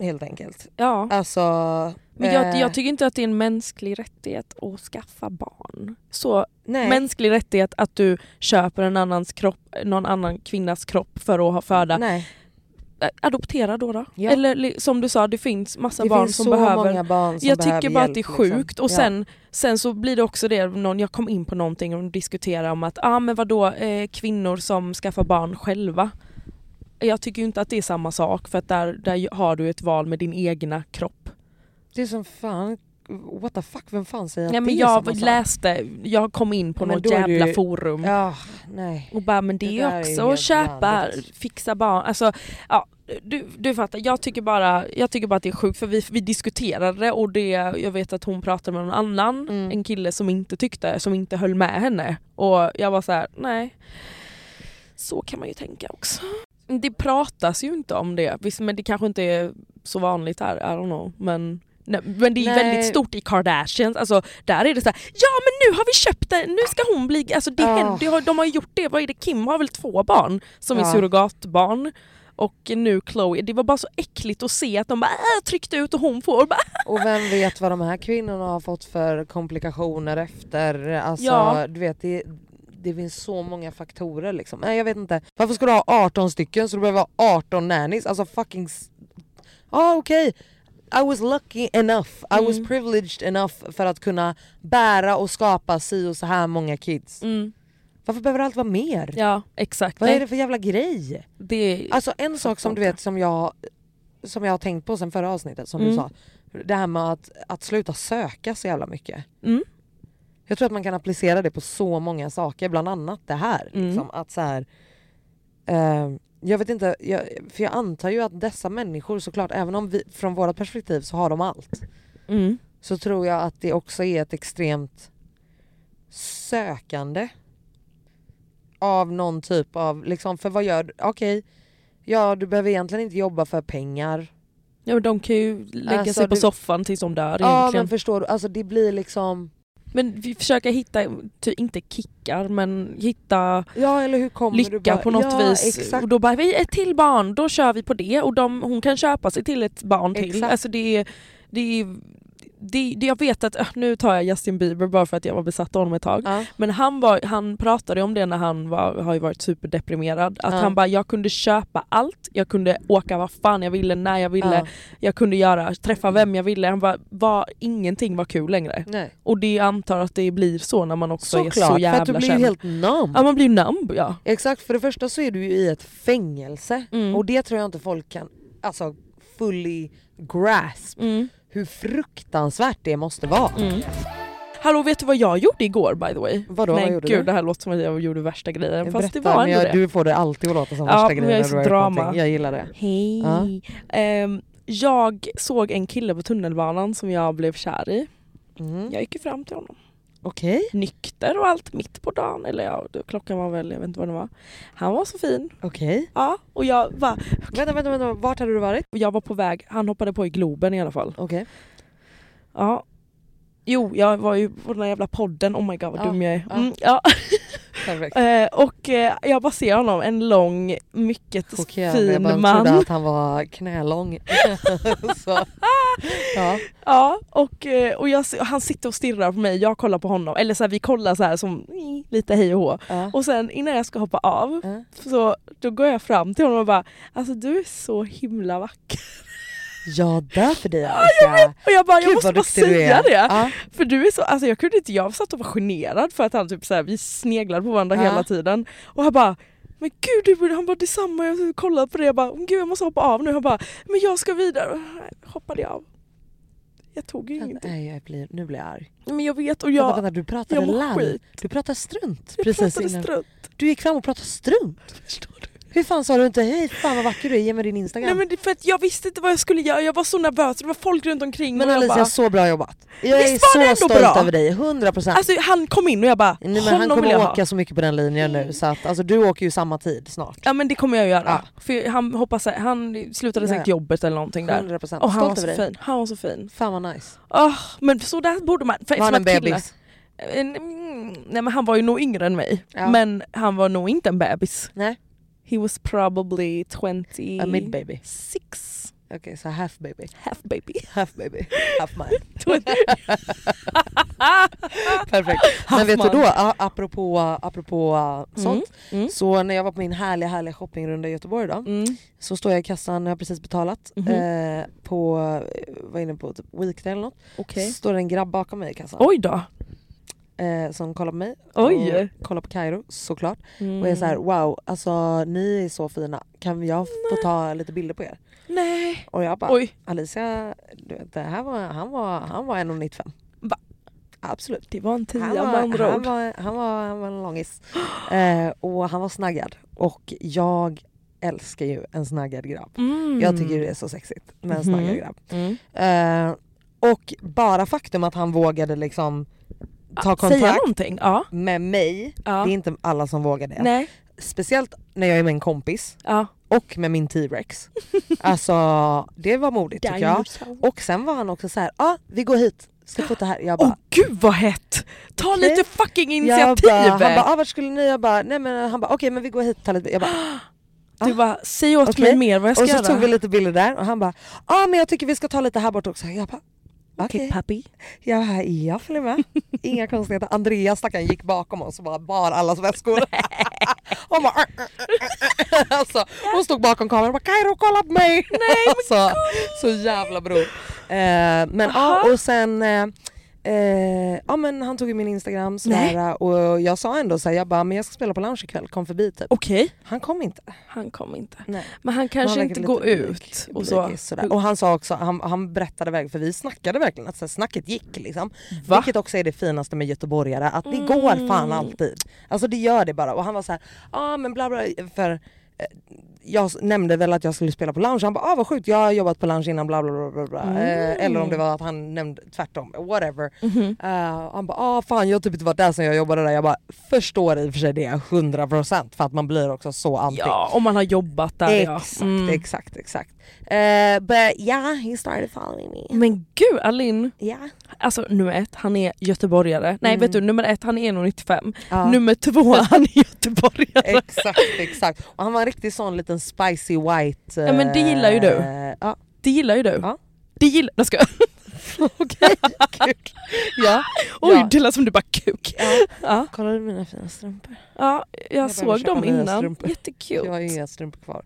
Speaker 2: helt enkelt.
Speaker 1: Ja.
Speaker 2: Alltså,
Speaker 1: Men jag,
Speaker 2: eh,
Speaker 1: jag tycker inte att det är en mänsklig rättighet att skaffa barn. Så
Speaker 2: nej.
Speaker 1: mänsklig rättighet att du köper en annans kropp, någon annan kvinnas kropp för att ha föda.
Speaker 2: nej.
Speaker 1: Ä, Adoptera då. då.
Speaker 2: Ja.
Speaker 1: Eller li- som du sa, det finns massa
Speaker 2: Det
Speaker 1: barn
Speaker 2: finns
Speaker 1: som
Speaker 2: så
Speaker 1: behöver
Speaker 2: många barn som
Speaker 1: jag
Speaker 2: behöver
Speaker 1: tycker bara
Speaker 2: hjälp,
Speaker 1: att det är
Speaker 2: liksom.
Speaker 1: sjukt och
Speaker 2: Ja.
Speaker 1: sen, sen så blir det också det, någon, jag kom in på någonting och diskuterade om att ah, men vadå, eh, kvinnor som skaffar barn själva. Jag tycker ju inte att det är samma sak för att där, där har du ett val med din egna kropp.
Speaker 2: Det är som fan, what the fuck, vem fan säger
Speaker 1: Nej
Speaker 2: att
Speaker 1: men
Speaker 2: det är samma
Speaker 1: jag
Speaker 2: sak?
Speaker 1: läste, jag kom in på
Speaker 2: Ja, men
Speaker 1: något
Speaker 2: då är det
Speaker 1: jävla
Speaker 2: ju-
Speaker 1: forum
Speaker 2: Ja, nej.
Speaker 1: och bara men det,
Speaker 2: Det
Speaker 1: är
Speaker 2: där
Speaker 1: ju
Speaker 2: är ju
Speaker 1: också att
Speaker 2: helt
Speaker 1: köpa,
Speaker 2: vanligt.
Speaker 1: fixa barn, alltså ja du, du fattar, jag tycker, bara, jag tycker bara att det är sjukt för vi, vi diskuterade det och det, jag vet att hon pratade med någon annan,
Speaker 2: Mm.
Speaker 1: en kille som inte tyckte, som inte höll med henne och jag var så här: nej så kan man ju tänka också. Det pratas ju inte om det, visst men det kanske inte är så vanligt här, I don't know. Men, nej, men det är ju
Speaker 2: Nej.
Speaker 1: väldigt stort i Kardashians, alltså, där är det så här, ja men nu har vi köpt det, nu ska hon bli, alltså det
Speaker 2: Ja.
Speaker 1: händer, det har, de har ju gjort det, vad är det, Kim har väl två barn som är
Speaker 2: Ja.
Speaker 1: surrogatbarn och nu Chloe, det var bara så äckligt att se att de bara äh, tryckte ut och hon får, och bara,
Speaker 2: Och vem vet vad de här kvinnorna har fått för komplikationer efter? Alltså,
Speaker 1: Ja.
Speaker 2: du vet, det, det finns så många faktorer liksom. Nej jag vet inte. Varför ska du ha 18 stycken så du behöver ha 18 nannies? Alltså fucking... s- Ja ah, okej. I was lucky enough, I
Speaker 1: Mm.
Speaker 2: was privileged enough för att kunna bära och skapa si och så här många kids.
Speaker 1: mm,
Speaker 2: Varför behöver allt vara mer?
Speaker 1: ja "Äh." exakt.
Speaker 2: Vad
Speaker 1: Nej,
Speaker 2: är det för jävla grej?
Speaker 1: det,
Speaker 2: Alltså en sak som du vet som jag, som jag har tänkt på sen förra avsnittet som
Speaker 1: Mm.
Speaker 2: du sa. Det här med att, att sluta söka så jävla mycket.
Speaker 1: mm,
Speaker 2: Jag tror att man kan applicera det på så många saker, bland annat det här.
Speaker 1: Mm.
Speaker 2: Liksom, att så här eh, jag vet inte, jag, för jag antar ju att dessa människor såklart, även om vi, från vårt perspektiv så har de allt.
Speaker 1: mm,
Speaker 2: Så tror jag att det också är ett extremt sökande av någon typ av, liksom, för vad gör du? Okej, ja du behöver egentligen inte jobba för pengar.
Speaker 1: ja, men de kan ju lägga
Speaker 2: Alltså,
Speaker 1: sig på
Speaker 2: du-
Speaker 1: soffan tills de dör
Speaker 2: Ja
Speaker 1: egentligen.
Speaker 2: men förstår du, alltså det blir liksom,
Speaker 1: Men vi försöker hitta, ty, inte kickar, men hitta
Speaker 2: ja eller hur kommer du?
Speaker 1: lycka
Speaker 2: bara-
Speaker 1: på något
Speaker 2: ja,
Speaker 1: vis.
Speaker 2: Exakt.
Speaker 1: Och då bara, vi ett till barn, då kör vi på det. Och de, hon kan köpa sig till ett barn till.
Speaker 2: Exakt.
Speaker 1: Alltså det är, det är det, det, jag vet att, äh, nu tar jag Justin Bieber bara för att jag var besatt av honom ett tag.
Speaker 2: Ja.
Speaker 1: Men han, var, han pratade om det när han var, har ju varit superdeprimerad. Att
Speaker 2: Ja.
Speaker 1: han bara, jag kunde köpa allt, jag kunde åka vad fan jag ville, när jag ville, jag kunde göra, träffa vem jag ville. Han bara, var, ingenting var kul längre.
Speaker 2: Nej.
Speaker 1: Och det jag antar att det blir så när man också är
Speaker 2: Såklart,
Speaker 1: så
Speaker 2: för
Speaker 1: jävla
Speaker 2: att du blir ju
Speaker 1: känd.
Speaker 2: helt numb.
Speaker 1: Ja man blir numb ja.
Speaker 2: Exakt, för det första så är du ju i ett fängelse
Speaker 1: Mm.
Speaker 2: och det tror jag inte folk kan alltså, fully grasp
Speaker 1: Mm.
Speaker 2: hur fruktansvärt det måste vara.
Speaker 1: Hallå vet du vad jag gjorde igår by the way?
Speaker 2: Vadå,
Speaker 1: Nej
Speaker 2: vad gjorde
Speaker 1: gud
Speaker 2: du?
Speaker 1: det här låter som att jag gjorde värsta grejen fast det
Speaker 2: Berätta,
Speaker 1: var
Speaker 2: men
Speaker 1: ändå
Speaker 2: jag,
Speaker 1: det.
Speaker 2: Du får det alltid att låta som
Speaker 1: Ja,
Speaker 2: värsta
Speaker 1: men
Speaker 2: grejen
Speaker 1: jag är
Speaker 2: när
Speaker 1: så
Speaker 2: du har gjort
Speaker 1: drama.
Speaker 2: någonting. Jag gillar det.
Speaker 1: Hej!
Speaker 2: Ja.
Speaker 1: Ehm, jag såg en kille på tunnelbanan som jag blev kär i.
Speaker 2: Mm.
Speaker 1: Jag gick ju fram till honom.
Speaker 2: Okej,
Speaker 1: Nykter och allt mitt på dagen, eller ja, klockan var väl, jag vet inte vad det var. Han var så fin.
Speaker 2: okej.
Speaker 1: Ja, och jag var,
Speaker 2: Vänta, vänta, vänta, vart hade du varit?
Speaker 1: jag var på väg, han hoppade på i Globen i alla fall.
Speaker 2: Okej.
Speaker 1: Ja. Jo, jag var ju på den här jävla podden, oh my god vad
Speaker 2: Ja,
Speaker 1: dum jag är.
Speaker 2: ja.
Speaker 1: Mm, ja. (laughs)
Speaker 2: Perfekt.
Speaker 1: Eh, och eh, jag bara ser honom, en lång, mycket
Speaker 2: Chockerande, jag
Speaker 1: fin
Speaker 2: bara
Speaker 1: man.
Speaker 2: trodde att han var knälång. så. Ja.
Speaker 1: (laughs) Ja, och, eh, och jag, se- han sitter och stirrar på mig, jag kollar på honom. Eller så här, vi kollar så här som lite hej och hå.
Speaker 2: Ja.
Speaker 1: Och sen innan jag ska hoppa av,
Speaker 2: Ja.
Speaker 1: så då går jag fram till honom och bara Alltså du är så himla vacker. (laughs)
Speaker 2: Jag dör för dig Annika.
Speaker 1: Och jag bara, jag
Speaker 2: Gud,
Speaker 1: måste
Speaker 2: vad
Speaker 1: bara
Speaker 2: duktig du
Speaker 1: säga
Speaker 2: är.
Speaker 1: det.
Speaker 2: Ja.
Speaker 1: För du är så, alltså jag kunde inte, jag satt och var generad för att han typ så här, vi sneglade på varandra
Speaker 2: Ja.
Speaker 1: hela tiden. Och han bara men gud, du borde-" han bara detsamma, jag kollade på det, jag bara "Åh, gud jag måste hoppa av nu. Han bara men jag ska vidare. Hoppade jag av. Jag tog ju ingenting.
Speaker 2: Nej, jag blir, nu blir jag arg.
Speaker 1: Men jag vet och
Speaker 2: Vänta,
Speaker 1: jag,
Speaker 2: vänta, du pratade
Speaker 1: jag mår
Speaker 2: larv.
Speaker 1: skit.
Speaker 2: Du pratade strunt
Speaker 1: jag
Speaker 2: precis
Speaker 1: pratade
Speaker 2: innan.
Speaker 1: strunt.
Speaker 2: Du gick fram och pratade strunt.
Speaker 1: Förstår du?
Speaker 2: Hur fan sa du inte hej fan vad vacker du är, ge mig din instagram.
Speaker 1: Nej men det är för att jag visste inte vad jag skulle göra, jag var så nervös, det var folk runt omkring
Speaker 2: men
Speaker 1: och jag
Speaker 2: Alicia,
Speaker 1: bara,
Speaker 2: så bra jobbat. Jag
Speaker 1: Visst var det
Speaker 2: är
Speaker 1: ändå
Speaker 2: så stolt
Speaker 1: bra?
Speaker 2: över dig, 100%. procent.
Speaker 1: Alltså han kom in och jag bara,
Speaker 2: men han
Speaker 1: honom vill jag
Speaker 2: kommer åka
Speaker 1: ha.
Speaker 2: så mycket på den linjen nu så att alltså, du åker ju samma tid snart.
Speaker 1: Ja men det kommer jag göra.
Speaker 2: Ja.
Speaker 1: För han hoppas, han slutade
Speaker 2: Ja,
Speaker 1: säkert
Speaker 2: ja.
Speaker 1: jobbet eller någonting där.
Speaker 2: 100% procent.
Speaker 1: Och han var
Speaker 2: Stolt
Speaker 1: så
Speaker 2: över dig.
Speaker 1: fin, han var så fin.
Speaker 2: Fan vad nice.
Speaker 1: Oh, men så där borde man... För
Speaker 2: Var han en
Speaker 1: eftersom att killar-
Speaker 2: bebis?
Speaker 1: En- mm, Nej men han var ju nog yngre än mig.
Speaker 2: Ja.
Speaker 1: Men han var nog inte en bebis.
Speaker 2: Nej.
Speaker 1: He was probably 20...
Speaker 2: A mid baby.
Speaker 1: Six.
Speaker 2: Okej så half baby.
Speaker 1: Half baby.
Speaker 2: Half baby. (laughs)
Speaker 1: (laughs)
Speaker 2: Half man. (laughs) Perfekt.
Speaker 1: Half
Speaker 2: Men vet
Speaker 1: man.
Speaker 2: du då, a- apropå, apropå uh, sånt.
Speaker 1: mm.
Speaker 2: Så när jag var på min härliga härliga shoppingrunda i Göteborg då.
Speaker 1: Mm.
Speaker 2: Så står jag i kassan, jag har precis betalat.
Speaker 1: Mhm.
Speaker 2: eh, på, eh, vad är det på, typ weekday eller något.
Speaker 1: Okej.
Speaker 2: Så står det en grabb bakom mig i kassan.
Speaker 1: Oj då.
Speaker 2: eh, som kollar på mig.
Speaker 1: Oj.
Speaker 2: Och kollar på Kairo såklart.
Speaker 1: Mm.
Speaker 2: Och är så här: wow, alltså ni är så fina. Kan jag få ta lite bilder på er?
Speaker 1: Nej.
Speaker 2: Och jag bara,
Speaker 1: Oj.
Speaker 2: Alicia, du vet, det här var, han var, han var 1,95.
Speaker 1: Va?
Speaker 2: Absolut.
Speaker 1: Det var en tia
Speaker 2: Han
Speaker 1: med
Speaker 2: var, han,
Speaker 1: andra ord.
Speaker 2: var, han, var, han var en långis. Eh, och han var snaggad. Och jag älskar ju en snaggad grabb.
Speaker 1: Mm.
Speaker 2: Jag tycker det är så sexigt med en snaggad
Speaker 1: Mhm.
Speaker 2: grabb.
Speaker 1: Mm.
Speaker 2: Eh, och bara faktum att han vågade liksom ta
Speaker 1: Ah, Säga
Speaker 2: kontakt
Speaker 1: någonting. Ja.
Speaker 2: med mig,
Speaker 1: ja.
Speaker 2: det är inte alla som vågar det.
Speaker 1: Nej.
Speaker 2: Speciellt när jag är med en kompis
Speaker 1: Ja.
Speaker 2: och med
Speaker 1: (laughs)
Speaker 2: min T-rex. alltså det var modigt tycker jag.
Speaker 1: Dinosaur.
Speaker 2: Och sen var han också så här, ja ah, vi går hit, ska fota här. Jag bara,
Speaker 1: Åh gud vad hett! Ta
Speaker 2: Okej.
Speaker 1: lite fucking
Speaker 2: Jag
Speaker 1: initiativ!
Speaker 2: bara, han bara, ah, vart skulle ni? Jag bara, nej men han bara, okej men vi går hit till ett- Jag bara,
Speaker 1: (gasps) du bara, säg åt
Speaker 2: "Ah." Okej.
Speaker 1: mig mer vad jag ska
Speaker 2: och så
Speaker 1: göra.
Speaker 2: tog vi lite bilder där och han bara, ah men jag tycker vi ska ta lite här bort också. Jag bara, okej.
Speaker 1: Okej papi.
Speaker 2: Jag bara, jag följer med. Inga konstigheter. Andreas stackaren gick bakom oss och bara bar allas väskor. Hon bara, "Arr, arr, arr, arr." alltså, hon stod bakom kameran och bara Kairo kolla på mig. Nej, alltså, så jävla bror. Eh, men ja och sen eh, eh, ja men han tog ju min instagram sådär, och jag sa ändå såhär, jag bara men jag ska spela på lounge ikväll, kom förbi typ.
Speaker 1: Okej,
Speaker 2: Han kom inte.
Speaker 1: han kom inte.
Speaker 2: Nej.
Speaker 1: Men han kanske
Speaker 2: verkar
Speaker 1: inte
Speaker 2: lite
Speaker 1: går
Speaker 2: blyg,
Speaker 1: ut och så.
Speaker 2: blygis sådär. Och han sa också, han, han berättade väg för vi snackade verkligen att så här, snacket gick liksom.
Speaker 1: Va? Mm.
Speaker 2: Vilket också är det finaste med göteborgare, att det går fan alltid. Alltså det gör det bara. Och han var så här, ja ah, men bla bla, för eh, jag s- nämnde väl att jag skulle spela på lounge, han bara ah vad sjukt jag har jobbat på lounge innan bla bla bla, bla bla.
Speaker 1: Mm.
Speaker 2: Eh, eller om det var att han nämnde tvärtom, whatever.
Speaker 1: Mm-hmm.
Speaker 2: Eh, han bara ah fan jag har typ inte varit där sen jag jobbade där. Jag bara förstår i och för sig det 100% för att man blir också så anti.
Speaker 1: Ja, om man har jobbat där
Speaker 2: Exakt,
Speaker 1: ja. Mm.
Speaker 2: exakt, exakt. Eh, but yeah, he started following me.
Speaker 1: Men gud Alin,
Speaker 2: Yeah.
Speaker 1: alltså nummer ett, han är göteborgare.
Speaker 2: Mm.
Speaker 1: Nej vet du, nummer ett, han är nog 95. Nummer
Speaker 2: (laughs)
Speaker 1: två, han är göteborgare.
Speaker 2: exakt, exakt. Och han var en riktig sån liten spicy white.
Speaker 1: Ja, men det gillar ju du.
Speaker 2: eh,
Speaker 1: (laughs)
Speaker 2: Ja,
Speaker 1: Det gillar ju du.
Speaker 2: Ja.
Speaker 1: Det gillar... Jag ska.
Speaker 2: okej. Kul. ja.
Speaker 1: (laughs) Oj,
Speaker 2: ja.
Speaker 1: det lät som du bara kuk.
Speaker 2: ja.
Speaker 1: Ja,
Speaker 2: Kollar du mina fina strumpor?
Speaker 1: ja jag,
Speaker 2: behöver
Speaker 1: såg
Speaker 2: köpa
Speaker 1: dem
Speaker 2: nya
Speaker 1: innan.
Speaker 2: strumpor. Jag har ju
Speaker 1: Jättekul.
Speaker 2: inga strumpor kvar.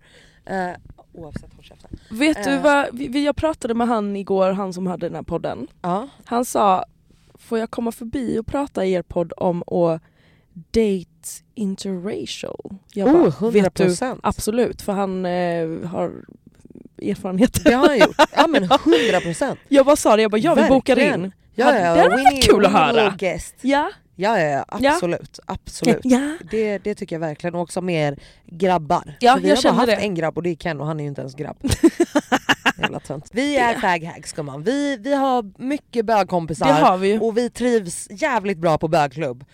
Speaker 2: Eh, oavsett, håll käften.
Speaker 1: Vet du
Speaker 2: Eh.
Speaker 1: vad, vi, vi- jag pratade med han igår, han som hade den här podden.
Speaker 2: Ja.
Speaker 1: Han sa, får jag komma förbi och prata i er podd om att date interracial? Jag
Speaker 2: Oh,
Speaker 1: vet du,
Speaker 2: 100%.
Speaker 1: absolut, för han eh, har erfarenheter.
Speaker 2: Det har han gjort. Ja men 100 procent.
Speaker 1: (laughs) Jag bara sa det, jag bara ja vi bokar in.
Speaker 2: Ja,
Speaker 1: Det
Speaker 2: ja,
Speaker 1: hade varit
Speaker 2: need-
Speaker 1: kul att
Speaker 2: we need
Speaker 1: höra.
Speaker 2: a guest.
Speaker 1: Ja.
Speaker 2: Ja, ja, ja
Speaker 1: Ja.
Speaker 2: absolut. absolut.
Speaker 1: Ja.
Speaker 2: Det, det tycker jag verkligen, och också mer grabbar.
Speaker 1: Ja,
Speaker 2: För vi
Speaker 1: jag
Speaker 2: har bara
Speaker 1: känner
Speaker 2: haft
Speaker 1: det.
Speaker 2: en grabb och det är Ken och han är ju inte
Speaker 1: (laughs)
Speaker 2: ens grabb. Jävla tönt. Vi är faghacks gumman, vi, vi har mycket bögkompisar
Speaker 1: Det har vi ju. Mm.
Speaker 2: och vi trivs jävligt bra på bögklubb.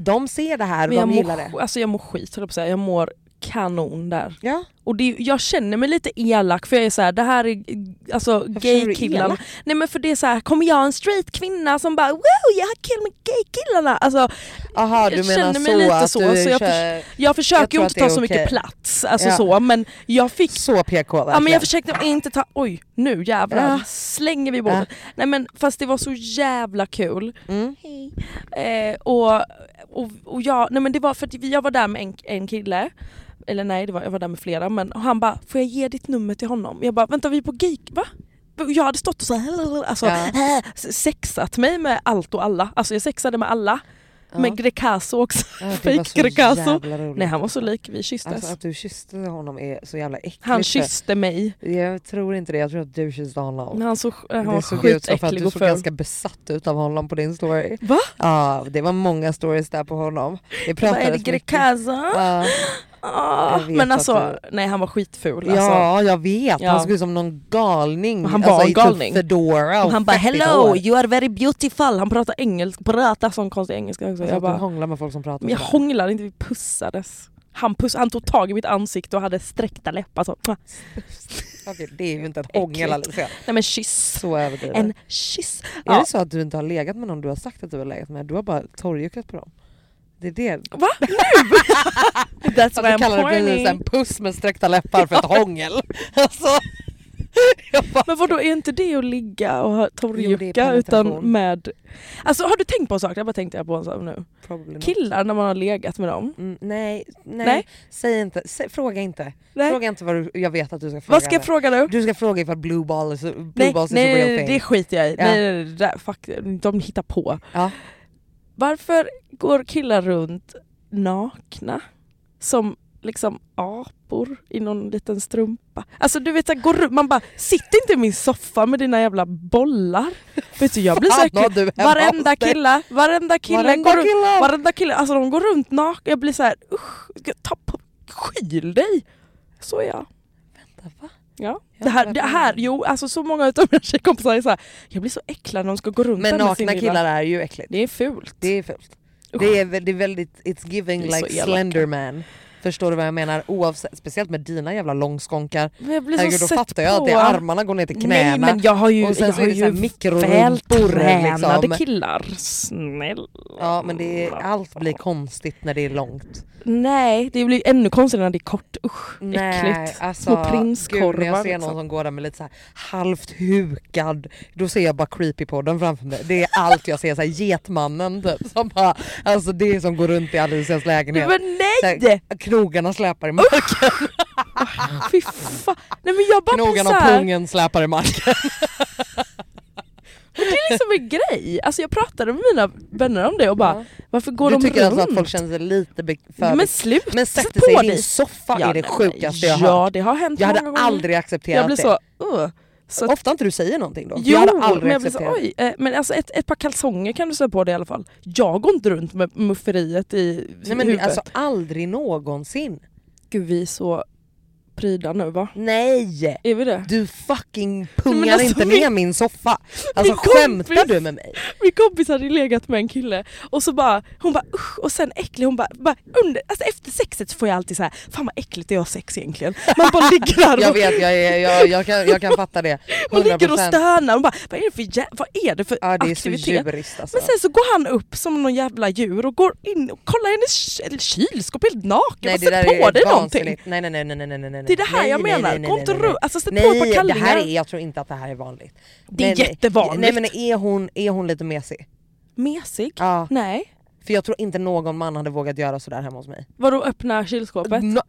Speaker 2: De ser det här och
Speaker 1: Men jag
Speaker 2: de gillar
Speaker 1: mår,
Speaker 2: det.
Speaker 1: sk- alltså jag mår skit höll jag på att säga, jag mår kanon där.
Speaker 2: Ja.
Speaker 1: Och det, är- jag känner mig lite elak för jag är så här, det här är alltså,
Speaker 2: känner du dig
Speaker 1: gaykillarna.
Speaker 2: elak?
Speaker 1: Nej men för det är så här, kommer jag en straight kvinna som bara wow jag har kill med gaykillarna. Alltså,
Speaker 2: Aha, du
Speaker 1: jag
Speaker 2: menar
Speaker 1: känner mig
Speaker 2: så
Speaker 1: lite
Speaker 2: att
Speaker 1: så.
Speaker 2: du
Speaker 1: så jag,
Speaker 2: kör
Speaker 1: förs- jag
Speaker 2: jag
Speaker 1: försöker
Speaker 2: tror
Speaker 1: ju
Speaker 2: att
Speaker 1: inte
Speaker 2: det
Speaker 1: ta
Speaker 2: är
Speaker 1: så mycket
Speaker 2: okej.
Speaker 1: plats, alltså
Speaker 2: Ja.
Speaker 1: så men jag fick
Speaker 2: så PK verkligen.
Speaker 1: Ja men jag försökte inte ta, oj nu jävlar
Speaker 2: Ja.
Speaker 1: slänger vi bort. Nej men fast det var så jävla kul.
Speaker 2: Mm.
Speaker 1: Hej. Eh, och, och, och jag, nej men det var för att jag var där med en, en kille, eller nej det var, jag var där med flera men och han bara får jag ge ditt nummer till honom? Jag bara vänta vi är på geek, va? Jag hade stått och så här, alltså,
Speaker 2: Ja.
Speaker 1: eh, sexat mig med allt och alla. Alltså jag sexade med alla. Med Grecaso också.
Speaker 2: Ja, det var
Speaker 1: Fake
Speaker 2: så
Speaker 1: Grecaso.
Speaker 2: jävla roligt.
Speaker 1: Nej han var så lik, vi kysstes.
Speaker 2: Alltså att du kysste honom är så jävla äckligt.
Speaker 1: han
Speaker 2: för-
Speaker 1: kysste mig.
Speaker 2: Jag tror inte det, jag tror att du kysste honom.
Speaker 1: Men han, såg, han var
Speaker 2: det såg ut så för att
Speaker 1: skitäcklig
Speaker 2: du
Speaker 1: och
Speaker 2: såg
Speaker 1: ful.
Speaker 2: ganska besatt ut av honom på din story.
Speaker 1: Va?
Speaker 2: Ja, det var många stories där på honom. Det
Speaker 1: Vad är det
Speaker 2: pratades mycket.
Speaker 1: Grecaso?
Speaker 2: Ja,
Speaker 1: Ah,
Speaker 2: jag vet
Speaker 1: men
Speaker 2: att
Speaker 1: alltså, nej han var skitful. Alltså.
Speaker 2: ja, jag vet.
Speaker 1: Ja.
Speaker 2: Han såg ut som någon galning.
Speaker 1: Och han var en
Speaker 2: i
Speaker 1: galning.
Speaker 2: Typ fedora
Speaker 1: Och han bara
Speaker 2: fettigt
Speaker 1: hello,
Speaker 2: hår.
Speaker 1: you are very beautiful. Han pratar engelska, pratar sån konstig engelska också.
Speaker 2: Alltså,
Speaker 1: Jag
Speaker 2: jag
Speaker 1: bara,
Speaker 2: hånglar med folk som pratar
Speaker 1: men jag
Speaker 2: så här.
Speaker 1: hånglade inte, vi pussades. Han, puss, han tog tag i mitt ansikte och hade sträckta läppar så. "Mwah."
Speaker 2: (laughs) Okej, det är ju inte ett hångel
Speaker 1: Äckligt.
Speaker 2: Alicia.
Speaker 1: Nej men kyss.
Speaker 2: Så överdrivet.
Speaker 1: En kyss.
Speaker 2: Är
Speaker 1: Ja.
Speaker 2: det så att du inte har legat med någon du har sagt att du har legat med? Du har bara torrjuckat på dem. Det är det. (laughs)
Speaker 1: Va? Nu? That's
Speaker 2: Att du
Speaker 1: why I'm
Speaker 2: kallar det precis
Speaker 1: horny.
Speaker 2: en puss med sträckta
Speaker 1: (laughs)
Speaker 2: läppar för ett hångel. (laughs) Alltså, jag bara,
Speaker 1: Men vadå, är inte det att ligga och ha torrjucka
Speaker 2: penetration.
Speaker 1: utan med... Alltså har du tänkt på en sak? Jag bara tänkte jag på en sak nu.
Speaker 2: probably not.
Speaker 1: Killar när man har legat med dem.
Speaker 2: Mm, nej, nej,
Speaker 1: Nej.
Speaker 2: säg inte. Sä, fråga inte.
Speaker 1: Nej.
Speaker 2: Fråga inte vad du, jag vet att du ska fråga.
Speaker 1: Vad ska jag
Speaker 2: nu.
Speaker 1: fråga nu?
Speaker 2: Du ska fråga ifall blue balls, blue
Speaker 1: Nej,
Speaker 2: balls is a
Speaker 1: nej,
Speaker 2: real
Speaker 1: nej
Speaker 2: thing.
Speaker 1: det skiter jag i.
Speaker 2: Ja.
Speaker 1: Nej, nej, nej, det där, fuck, de hittar på.
Speaker 2: Ja.
Speaker 1: Varför går killar runt nakna? Som liksom apor i någon liten strumpa. Alltså du vet, så här, går, runt- man bara sitt inte i min soffa med dina jävla bollar. Vet du jag blir så
Speaker 2: Fan, vad
Speaker 1: äcklad.
Speaker 2: du hemma
Speaker 1: Varenda
Speaker 2: hos dig.
Speaker 1: kille, varenda kille,
Speaker 2: Varenda
Speaker 1: går runt,
Speaker 2: kille.
Speaker 1: varenda kille, alltså de går runt nakna. Jag blir så här, usch, ta på, skyl dig. Så är jag.
Speaker 2: va?
Speaker 1: Ja.
Speaker 2: Jag
Speaker 1: Det här,
Speaker 2: tror
Speaker 1: det
Speaker 2: jag
Speaker 1: här,
Speaker 2: fattar.
Speaker 1: jo alltså så många utav mina tjejkompisar är såhär, jag blir så äcklad när de ska gå runt
Speaker 2: Men
Speaker 1: där med sin
Speaker 2: nakna
Speaker 1: lilla-
Speaker 2: killar är ju äckligt.
Speaker 1: Det är fult.
Speaker 2: Det är fult.
Speaker 1: Usch.
Speaker 2: Det är, vä- det är väldigt, it's giving
Speaker 1: Det är så
Speaker 2: like
Speaker 1: elaka.
Speaker 2: Slenderman. Förstår du vad jag menar? Oavsett, speciellt med dina jävla långskånkar.
Speaker 1: Men jag blir så
Speaker 2: Herregud, då
Speaker 1: sett
Speaker 2: fattar jag att
Speaker 1: på.
Speaker 2: det är armarna går ner till knäna.
Speaker 1: Nej men jag har ju,
Speaker 2: Och sen
Speaker 1: jag
Speaker 2: så
Speaker 1: har
Speaker 2: är det så här
Speaker 1: ju
Speaker 2: mikrorumpor,
Speaker 1: vältränade
Speaker 2: liksom.
Speaker 1: killar. Snälla.
Speaker 2: Ja men det är, allt blir konstigt när det är långt.
Speaker 1: Nej, det blir ännu konstigare när det är kort. Usch, äckligt. Små
Speaker 2: alltså, gud, när jag
Speaker 1: prinskorvar.
Speaker 2: ser någon
Speaker 1: liksom.
Speaker 2: som går där med lite så här halvt hukad, då ser jag bara creepypodden framför mig. Det är allt jag ser, så här, getmannen typ. Som bara, alltså det som går runt i Alicias lägenhet.
Speaker 1: Men
Speaker 2: Så
Speaker 1: nej!
Speaker 2: här, knogarna släpar i marken,
Speaker 1: Fy fan. Nej men jag bara blir
Speaker 2: knogarna
Speaker 1: så
Speaker 2: och
Speaker 1: här,
Speaker 2: pungen släpar i marken.
Speaker 1: det är liksom en grej. Alltså jag pratade med mina vänner om det och bara, varför går
Speaker 2: Du
Speaker 1: de
Speaker 2: tycker
Speaker 1: runt?
Speaker 2: alltså att folk känner sig lite be- för...
Speaker 1: men sluta
Speaker 2: men sätter
Speaker 1: på
Speaker 2: sig i
Speaker 1: dig.
Speaker 2: din soffa är
Speaker 1: nej,
Speaker 2: det sjukaste jag har
Speaker 1: Ja
Speaker 2: hört.
Speaker 1: det har hänt
Speaker 2: Jag
Speaker 1: många
Speaker 2: hade
Speaker 1: gånger.
Speaker 2: aldrig accepterat
Speaker 1: Jag blir
Speaker 2: det.
Speaker 1: så, uh. så
Speaker 2: Ofta inte du säger någonting då?
Speaker 1: Jo,
Speaker 2: jag hade aldrig
Speaker 1: men jag blir
Speaker 2: accepterat
Speaker 1: så, oj, eh, men alltså ett, ett par kalsonger kan du sätta på dig i alla fall. Jag går inte runt med mufferiet i
Speaker 2: Nej, men det,
Speaker 1: huvudet.
Speaker 2: alltså aldrig någonsin.
Speaker 1: Gud vi är så pryda nu va?
Speaker 2: Nej!
Speaker 1: Är vi det?
Speaker 2: Du fucking
Speaker 1: Nej,
Speaker 2: pungar
Speaker 1: men alltså,
Speaker 2: inte
Speaker 1: min-
Speaker 2: ner min soffa. Alltså
Speaker 1: min
Speaker 2: skämtar
Speaker 1: kompis-
Speaker 2: du med mig?
Speaker 1: Min kompis hade ju legat med en kille och så bara, hon bara usch och sen äcklig, hon bara, bara under, alltså efter sexet så får jag alltid så här, fan vad äckligt att jag har sex egentligen. Man bara ligger där och
Speaker 2: (laughs) Jag vet, jag, är- jag, jag, kan, jag kan
Speaker 1: (laughs)
Speaker 2: fatta det. 100%.
Speaker 1: Hon ligger och stönar och bara vad är det för, jä- vad är det för
Speaker 2: Ja det är så
Speaker 1: aktivitet?
Speaker 2: djuriskt alltså.
Speaker 1: Men sen så går han upp som någon jävla djur och går in och kollar i hennes k- eller kylskåp helt naken. Nej,
Speaker 2: det där
Speaker 1: Sätt på
Speaker 2: är
Speaker 1: dig
Speaker 2: vansinnigt.
Speaker 1: någonting.
Speaker 2: Nej nej nej nej nej nej nej.
Speaker 1: Det är det här
Speaker 2: nej,
Speaker 1: jag
Speaker 2: nej,
Speaker 1: menar.
Speaker 2: nej, nej,
Speaker 1: Gå inte
Speaker 2: nej, nej.
Speaker 1: ru- alltså, sätt på
Speaker 2: Nej,
Speaker 1: ett par
Speaker 2: det här
Speaker 1: kallingar.
Speaker 2: är, jag tror inte att det här är vanligt.
Speaker 1: Det är
Speaker 2: Nej, nej.
Speaker 1: jättevanligt.
Speaker 2: Nej men är hon, är hon lite mesig?
Speaker 1: Mesig?
Speaker 2: Ja.
Speaker 1: Nej.
Speaker 2: För jag tror inte någon man hade vågat göra sådär hemma hos mig.
Speaker 1: Vadå öppna kylskåpet?
Speaker 2: No, a-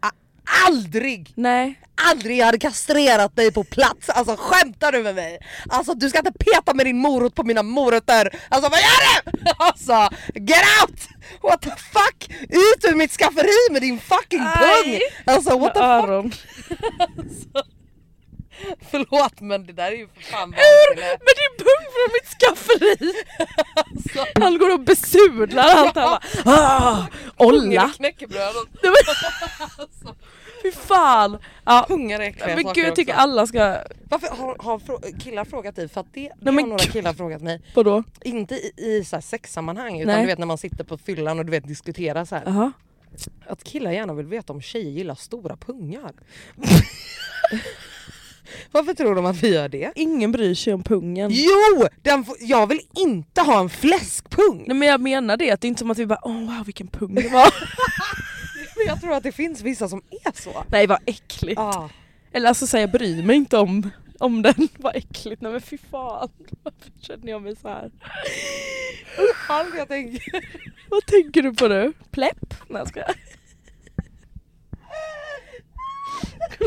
Speaker 2: aldrig!
Speaker 1: Nej.
Speaker 2: Aldrig! Jag hade kastrerat dig på plats! Alltså skämtar du med mig? Alltså du ska inte peta med din morot på mina morötter! Alltså vad gör du? Alltså get out! What the fuck! Ut ur mitt skafferi med din fucking pung!
Speaker 1: Aj.
Speaker 2: Alltså what the fuck!
Speaker 1: Öron.
Speaker 2: Förlåt men det där är ju för fan
Speaker 1: Ur
Speaker 2: vansinnigt.
Speaker 1: med din pung från mitt skafferi! Han går och besudlar allt. Han bara ah, olla.
Speaker 2: Knäckebröd och
Speaker 1: Nej, men- Fy fan. Ja.
Speaker 2: pungar är äckliga
Speaker 1: Men
Speaker 2: saker
Speaker 1: gud Alltså. jag tycker
Speaker 2: också.
Speaker 1: alla ska,
Speaker 2: Varför har, har frå- killar frågat dig? För att det, det
Speaker 1: men
Speaker 2: har några
Speaker 1: gud.
Speaker 2: killar frågat mig.
Speaker 1: vadå?
Speaker 2: Inte i, i så här sexsammanhang utan
Speaker 1: Nej.
Speaker 2: du vet när man sitter på fyllan och du vet diskuterar så här.
Speaker 1: Jaha.
Speaker 2: Att killar gärna vill veta om tjejer gillar stora (laughs) pungar. Varför tror de att vi gör det?
Speaker 1: Ingen bryr sig om pungen.
Speaker 2: Jo! Den får- jag vill inte ha en fläskpung!
Speaker 1: Nej men jag menar det, att det är inte som att vi bara åh wow vilken pung det var.
Speaker 2: Men (laughs) jag tror att det finns vissa som är så.
Speaker 1: (laughs) Nej vad äckligt.
Speaker 2: Ah.
Speaker 1: Eller alltså så här, jag bryr mig inte om, om den, (laughs) vad äckligt. Nej men fy fan. (laughs) Varför känner jag mig så här?
Speaker 2: Allt jag tänker.
Speaker 1: (laughs) Vad tänker du på nu? Plepp? Nej jag skojar.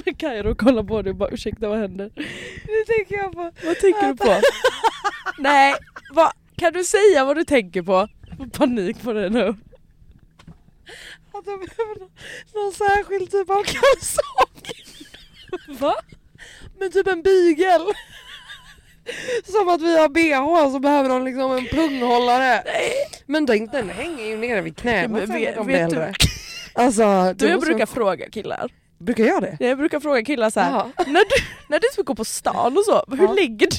Speaker 1: Men Kairo kollar på dig och bara ursäkta vad händer?
Speaker 2: Nu tänker jag på...
Speaker 1: Vad tänker du på? (laughs) Nej, vad, kan du säga vad du tänker på? Jag får panik på dig nu.
Speaker 2: Att de behöver nå- någon särskild typ av kalsong.
Speaker 1: Va?
Speaker 2: Men typ en bygel. (laughs) Som att vi har bh så behöver de liksom en punghållare. Men den, den hänger ju nere vid knät.
Speaker 1: Men
Speaker 2: Vad säger
Speaker 1: vet-
Speaker 2: de
Speaker 1: vet
Speaker 2: äldre?
Speaker 1: du-
Speaker 2: Alltså,
Speaker 1: Du, jag
Speaker 2: måste-
Speaker 1: brukar fråga killar.
Speaker 2: brukar jag det?
Speaker 1: Jag brukar fråga killar så här,
Speaker 2: Ja.
Speaker 1: när, du, när du ska gå på stan och så, hur
Speaker 2: Ja.
Speaker 1: lägger du,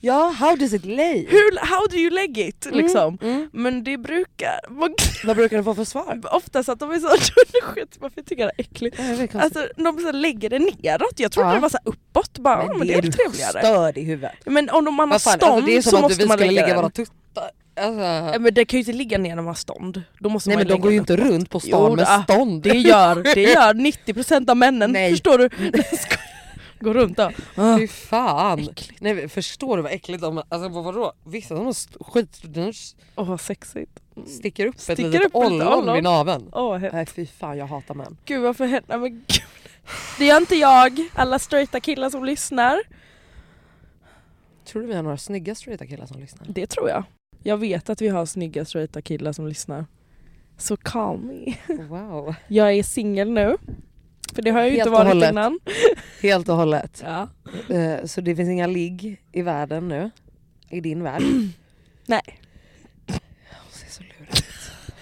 Speaker 2: Ja, how does it lay?
Speaker 1: hur, how do you leg it? Liksom.
Speaker 2: mm.
Speaker 1: Men det brukar, man,
Speaker 2: Vad brukar du få för svar?
Speaker 1: (laughs) oftast att de är så dunderskit, varför jag tycker det är äckligt.
Speaker 2: Jag vet, alltså,
Speaker 1: Alltså de så här lägger det neråt, jag trodde
Speaker 2: Ja.
Speaker 1: det var så här uppåt, bara, men, men det är väl trevligare.
Speaker 2: störd i huvudet.
Speaker 1: Men om de- man har
Speaker 2: Vad fan,
Speaker 1: stånd
Speaker 2: alltså, det är
Speaker 1: så
Speaker 2: som att
Speaker 1: måste
Speaker 2: vi
Speaker 1: man
Speaker 2: skulle
Speaker 1: lägga
Speaker 2: lägga
Speaker 1: den.
Speaker 2: våra tuttar. Alltså.
Speaker 1: Ja, Men det kan ju inte ligga ner när man har stånd. Då måste
Speaker 2: Nej
Speaker 1: man
Speaker 2: men de
Speaker 1: lägga
Speaker 2: går ju
Speaker 1: den.
Speaker 2: inte runt på
Speaker 1: Jo,
Speaker 2: stan med
Speaker 1: ah,
Speaker 2: stånd.
Speaker 1: Det
Speaker 2: (laughs)
Speaker 1: gör, det gör 90% av männen,
Speaker 2: Nej.
Speaker 1: förstår
Speaker 2: (laughs)
Speaker 1: du? (laughs) Sko- Går runt då. Ah.
Speaker 2: Fy fan! Nej, men förstår du vad äckligt de alltså, vad, vadå? Vissa de har st- skit, de s-
Speaker 1: Åh vad sexigt.
Speaker 2: sticker upp ett
Speaker 1: Sticker
Speaker 2: litet
Speaker 1: upp ett litet
Speaker 2: ollon
Speaker 1: ollon.
Speaker 2: vid naveln.
Speaker 1: Åh vad hemskt.
Speaker 2: Nej fy fan jag hatar män.
Speaker 1: Gud varför händer men gud. Det gör inte jag, alla straighta killar som lyssnar. (laughs)
Speaker 2: Tror du vi har några snygga straighta killar som lyssnar?
Speaker 1: Det tror jag. Jag vet att vi har snygga straighta killar som lyssnar. Så call me.
Speaker 2: Wow.
Speaker 1: Jag är singel nu. För det har jag ju
Speaker 2: Helt
Speaker 1: inte
Speaker 2: och
Speaker 1: varit
Speaker 2: hållet.
Speaker 1: innan.
Speaker 2: Helt och hållet.
Speaker 1: Ja.
Speaker 2: Eh, Så det finns inga ligg i världen nu? I din värld?
Speaker 1: (clears throat) Nej.
Speaker 2: Hon ser så lurig ut.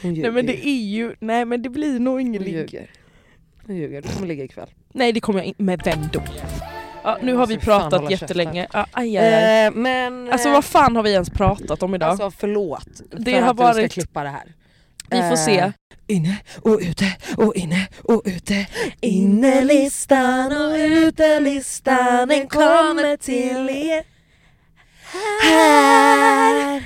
Speaker 2: Hon ljuger.
Speaker 1: Nej men det är ju, nej men det blir nog ingen
Speaker 2: Hon
Speaker 1: ligg.
Speaker 2: ljuger. Hon ljuger. Du kommer ligga ikväll.
Speaker 1: Nej det kommer jag inte, med vem då? Ja, nu har vi
Speaker 2: Måste fan
Speaker 1: pratat
Speaker 2: hålla
Speaker 1: jättelänge. Ja, aj, aj, aj.
Speaker 2: Eh, men...
Speaker 1: Alltså
Speaker 2: eh,
Speaker 1: vad fan har vi ens pratat om idag?
Speaker 2: Alltså förlåt
Speaker 1: Det
Speaker 2: för
Speaker 1: har
Speaker 2: att du
Speaker 1: varit-
Speaker 2: ska klippa det här.
Speaker 1: vi får se.
Speaker 2: eh, Inne och ute och inne och ute. Innelistan och utelistan den kommer till er. Här.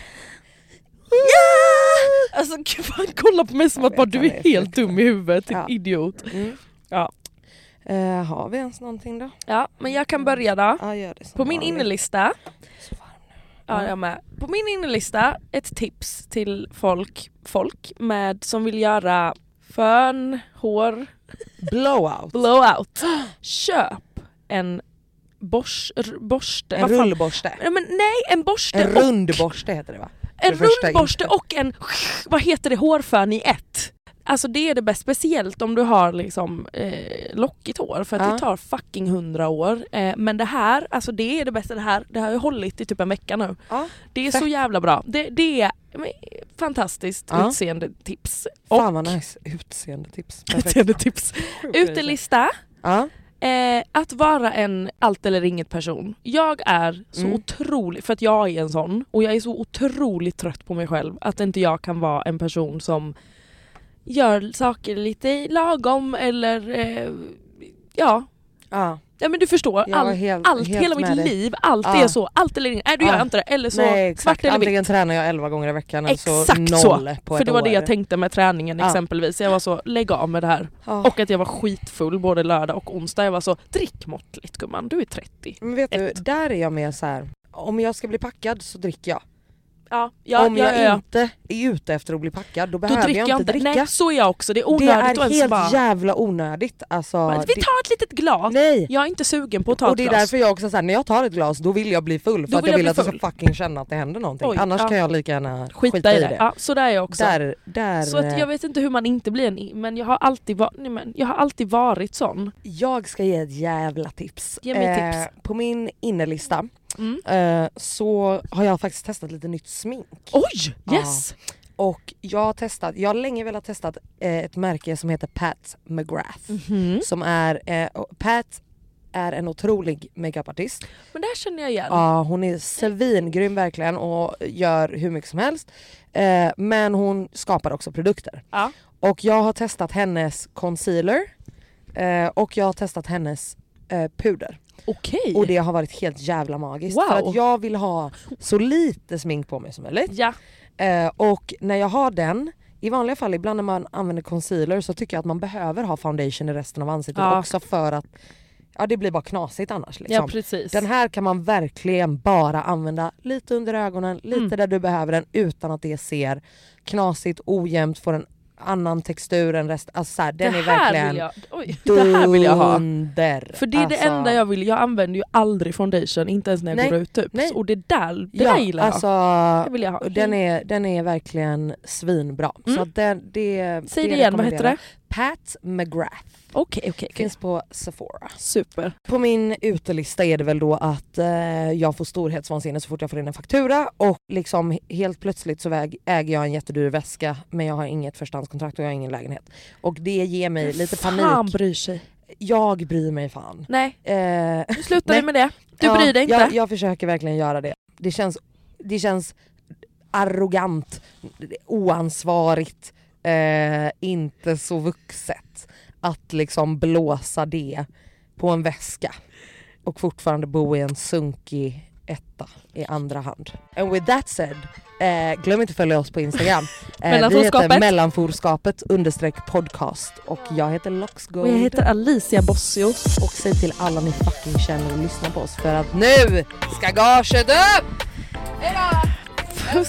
Speaker 1: Alltså gud, han kollar på mig som
Speaker 2: Jag
Speaker 1: att bara,
Speaker 2: vet,
Speaker 1: du
Speaker 2: han
Speaker 1: är
Speaker 2: är
Speaker 1: helt dum i huvudet, din
Speaker 2: Ja.
Speaker 1: idiot.
Speaker 2: Mm.
Speaker 1: Ja.
Speaker 2: Eh, har vi ens någonting då?
Speaker 1: Ja men jag kan börja då.
Speaker 2: Ja, gör det som
Speaker 1: På min
Speaker 2: vanligt.
Speaker 1: innelista,
Speaker 2: Så varmt.
Speaker 1: ja, jag med. På min innelista, ett tips till folk, folk med, som vill göra fön, hår,
Speaker 2: Blowout.
Speaker 1: blowout. Köp en bors, r- borste.
Speaker 2: En
Speaker 1: vad fan-
Speaker 2: rullborste.
Speaker 1: Nej, men nej, en borste
Speaker 2: En
Speaker 1: och
Speaker 2: rund borste heter det va?
Speaker 1: en
Speaker 2: det första
Speaker 1: rund borste
Speaker 2: inte.
Speaker 1: och en vad heter det, hårfön i ett. Alltså det är det bästa, speciellt om du har liksom, eh, lockigt hår för att
Speaker 2: Ja.
Speaker 1: det tar fucking hundra år. Eh, men det här, alltså det är det bästa, det här det har jag hållit i typ en vecka nu.
Speaker 2: Ja.
Speaker 1: Det är så
Speaker 2: Fett.
Speaker 1: jävla bra. Det, det är men, fantastiskt
Speaker 2: Ja.
Speaker 1: utseende tips.
Speaker 2: Fan vad nice. Utseendetips. Perfekt.
Speaker 1: Utseende
Speaker 2: (laughs)
Speaker 1: tips. Utelista.
Speaker 2: Ja.
Speaker 1: Eh, att vara en allt eller inget person. Jag är så
Speaker 2: Mm.
Speaker 1: otrolig, för att jag är en sån, och jag är så otroligt trött på mig själv att inte jag kan vara en person som gör saker lite lagom eller eh, ja.
Speaker 2: ja.
Speaker 1: ja, men du förstår.
Speaker 2: Jag var
Speaker 1: Allt,
Speaker 2: helt,
Speaker 1: allt
Speaker 2: helt
Speaker 1: hela
Speaker 2: med
Speaker 1: mitt
Speaker 2: dig.
Speaker 1: liv, allt
Speaker 2: Ja.
Speaker 1: är så, allt eller inget, nej du gör
Speaker 2: Ja.
Speaker 1: inte det. Eller så
Speaker 2: Nej exakt,
Speaker 1: svart eller vitt.
Speaker 2: antingen tränar jag 11 gånger i veckan eller så
Speaker 1: Exakt
Speaker 2: noll
Speaker 1: så!
Speaker 2: på
Speaker 1: För
Speaker 2: ett
Speaker 1: det var
Speaker 2: år.
Speaker 1: det jag tänkte med träningen
Speaker 2: Ja.
Speaker 1: exempelvis. Jag var så, lägg av med det här.
Speaker 2: Ja.
Speaker 1: Och att jag var skitfull både lördag och onsdag. Jag var så, drick måttligt gumman, du är 30.
Speaker 2: Men vet du,
Speaker 1: Ett.
Speaker 2: där är jag mer så här. om jag ska bli packad så dricker jag.
Speaker 1: Ja, ja,
Speaker 2: om
Speaker 1: ja,
Speaker 2: jag
Speaker 1: ja, ja.
Speaker 2: inte är ute efter att bli packad då
Speaker 1: Då
Speaker 2: behöver
Speaker 1: dricker
Speaker 2: jag inte dricka.
Speaker 1: Nej, så är jag också. Det är
Speaker 2: det
Speaker 1: onödigt
Speaker 2: är
Speaker 1: att ens
Speaker 2: helt
Speaker 1: bara...
Speaker 2: jävla onödigt. Alltså,
Speaker 1: Men Vi
Speaker 2: det-
Speaker 1: tar ett litet glas.
Speaker 2: Nej!
Speaker 1: Jag är inte sugen på att ta
Speaker 2: och det
Speaker 1: ett
Speaker 2: är
Speaker 1: glas.
Speaker 2: därför jag också såhär, när jag tar ett glas då vill jag bli full
Speaker 1: Då
Speaker 2: för att
Speaker 1: vill
Speaker 2: jag
Speaker 1: jag
Speaker 2: vill
Speaker 1: bli
Speaker 2: att jag
Speaker 1: full.
Speaker 2: ska fucking känna att det händer någonting.
Speaker 1: Oj,
Speaker 2: Annars
Speaker 1: ja.
Speaker 2: kan jag lika gärna
Speaker 1: Skita, i det. Ja, så där är jag också.
Speaker 2: Där, där,
Speaker 1: Så att jag
Speaker 2: jag,
Speaker 1: vet inte hur man inte blir en... Men jag har alltid, va... Nej, men jag har alltid varit sån.
Speaker 2: eh, ska ge ett jävla tips.
Speaker 1: Ge mig
Speaker 2: Eh,
Speaker 1: tips.
Speaker 2: På min innelista
Speaker 1: Mm.
Speaker 2: eh, så har jag faktiskt testat lite nytt smink.
Speaker 1: Oj! Yes!
Speaker 2: Och jag har testat, jag har länge velat testa eh, ett märke som heter Pat McGrath.
Speaker 1: Mhm.
Speaker 2: Som är, eh, och Pat är en otrolig makeupartist.
Speaker 1: Men det här känner jag igen.
Speaker 2: Ja, hon är svingrym verkligen och gör hur mycket som helst. Eh, men hon skapar också produkter.
Speaker 1: Ja.
Speaker 2: Och jag har testat hennes concealer eh, och jag har testat hennes eh, puder.
Speaker 1: Okej.
Speaker 2: Och det har varit helt jävla magiskt. För
Speaker 1: Wow.
Speaker 2: att jag vill ha så lite smink på mig som möjligt.
Speaker 1: Ja.
Speaker 2: Eh, och när jag har den, i vanliga fall ibland när man använder concealer så tycker jag att man behöver ha foundation i resten av ansiktet
Speaker 1: Ja.
Speaker 2: också för att ja, det blir bara knasigt annars. Liksom.
Speaker 1: ja, precis.
Speaker 2: Den här kan man verkligen bara använda lite under ögonen, lite
Speaker 1: Mm.
Speaker 2: där du behöver den utan att det ser knasigt, ojämnt, får en annan textur än resten. Alltså så här, den
Speaker 1: det
Speaker 2: är
Speaker 1: här
Speaker 2: verkligen
Speaker 1: vill jag, oj, det här vill jag ha.
Speaker 2: dunder.
Speaker 1: För det är det
Speaker 2: Alltså,
Speaker 1: enda jag vill, jag använder ju aldrig foundation, inte ens när jag
Speaker 2: Nej,
Speaker 1: går ut typ.
Speaker 2: nej.
Speaker 1: Och det där, det
Speaker 2: ja,
Speaker 1: där gillar
Speaker 2: alltså,
Speaker 1: jag. Det vill jag ha.
Speaker 2: Den är, den är verkligen svinbra. Så
Speaker 1: Mm.
Speaker 2: att den, det,
Speaker 1: Säg det igen, vad heter
Speaker 2: rekommenderar
Speaker 1: det?
Speaker 2: jag. Pat McGrath.
Speaker 1: Okej, okej. okej.
Speaker 2: Finns på Sephora.
Speaker 1: Super.
Speaker 2: På min utelista är det väl då att eh, jag får storhetsvansinne så fort jag får in en faktura och liksom he- helt plötsligt så väg, äger jag en jättedyr väska men jag har inget förstahandskontrakt och jag har ingen lägenhet. Och det ger mig lite
Speaker 1: Fan
Speaker 2: panik.
Speaker 1: bryr sig.
Speaker 2: Jag bryr mig fan.
Speaker 1: Nej,
Speaker 2: Eh,
Speaker 1: nu slutar vi
Speaker 2: Nej.
Speaker 1: med det. Du
Speaker 2: ja,
Speaker 1: bryr dig inte.
Speaker 2: Jag, jag försöker verkligen göra det. Det känns, det känns arrogant, oansvarigt, eh, inte så vuxet att liksom blåsa det på en väska och fortfarande bo i en sunkig etta i andra hand. And with that said, eh, glöm inte att följa oss
Speaker 1: (laughs)
Speaker 2: på Instagram. Eh, vi heter
Speaker 1: Mellanforskapet.
Speaker 2: mellanforskapet understreck podcast och jag heter
Speaker 1: Och jag
Speaker 2: Loxgold.
Speaker 1: heter Alicia Bossio.
Speaker 2: Och säg till alla ni fucking känner och lyssna på oss för att nu ska gaget upp!
Speaker 1: Puss!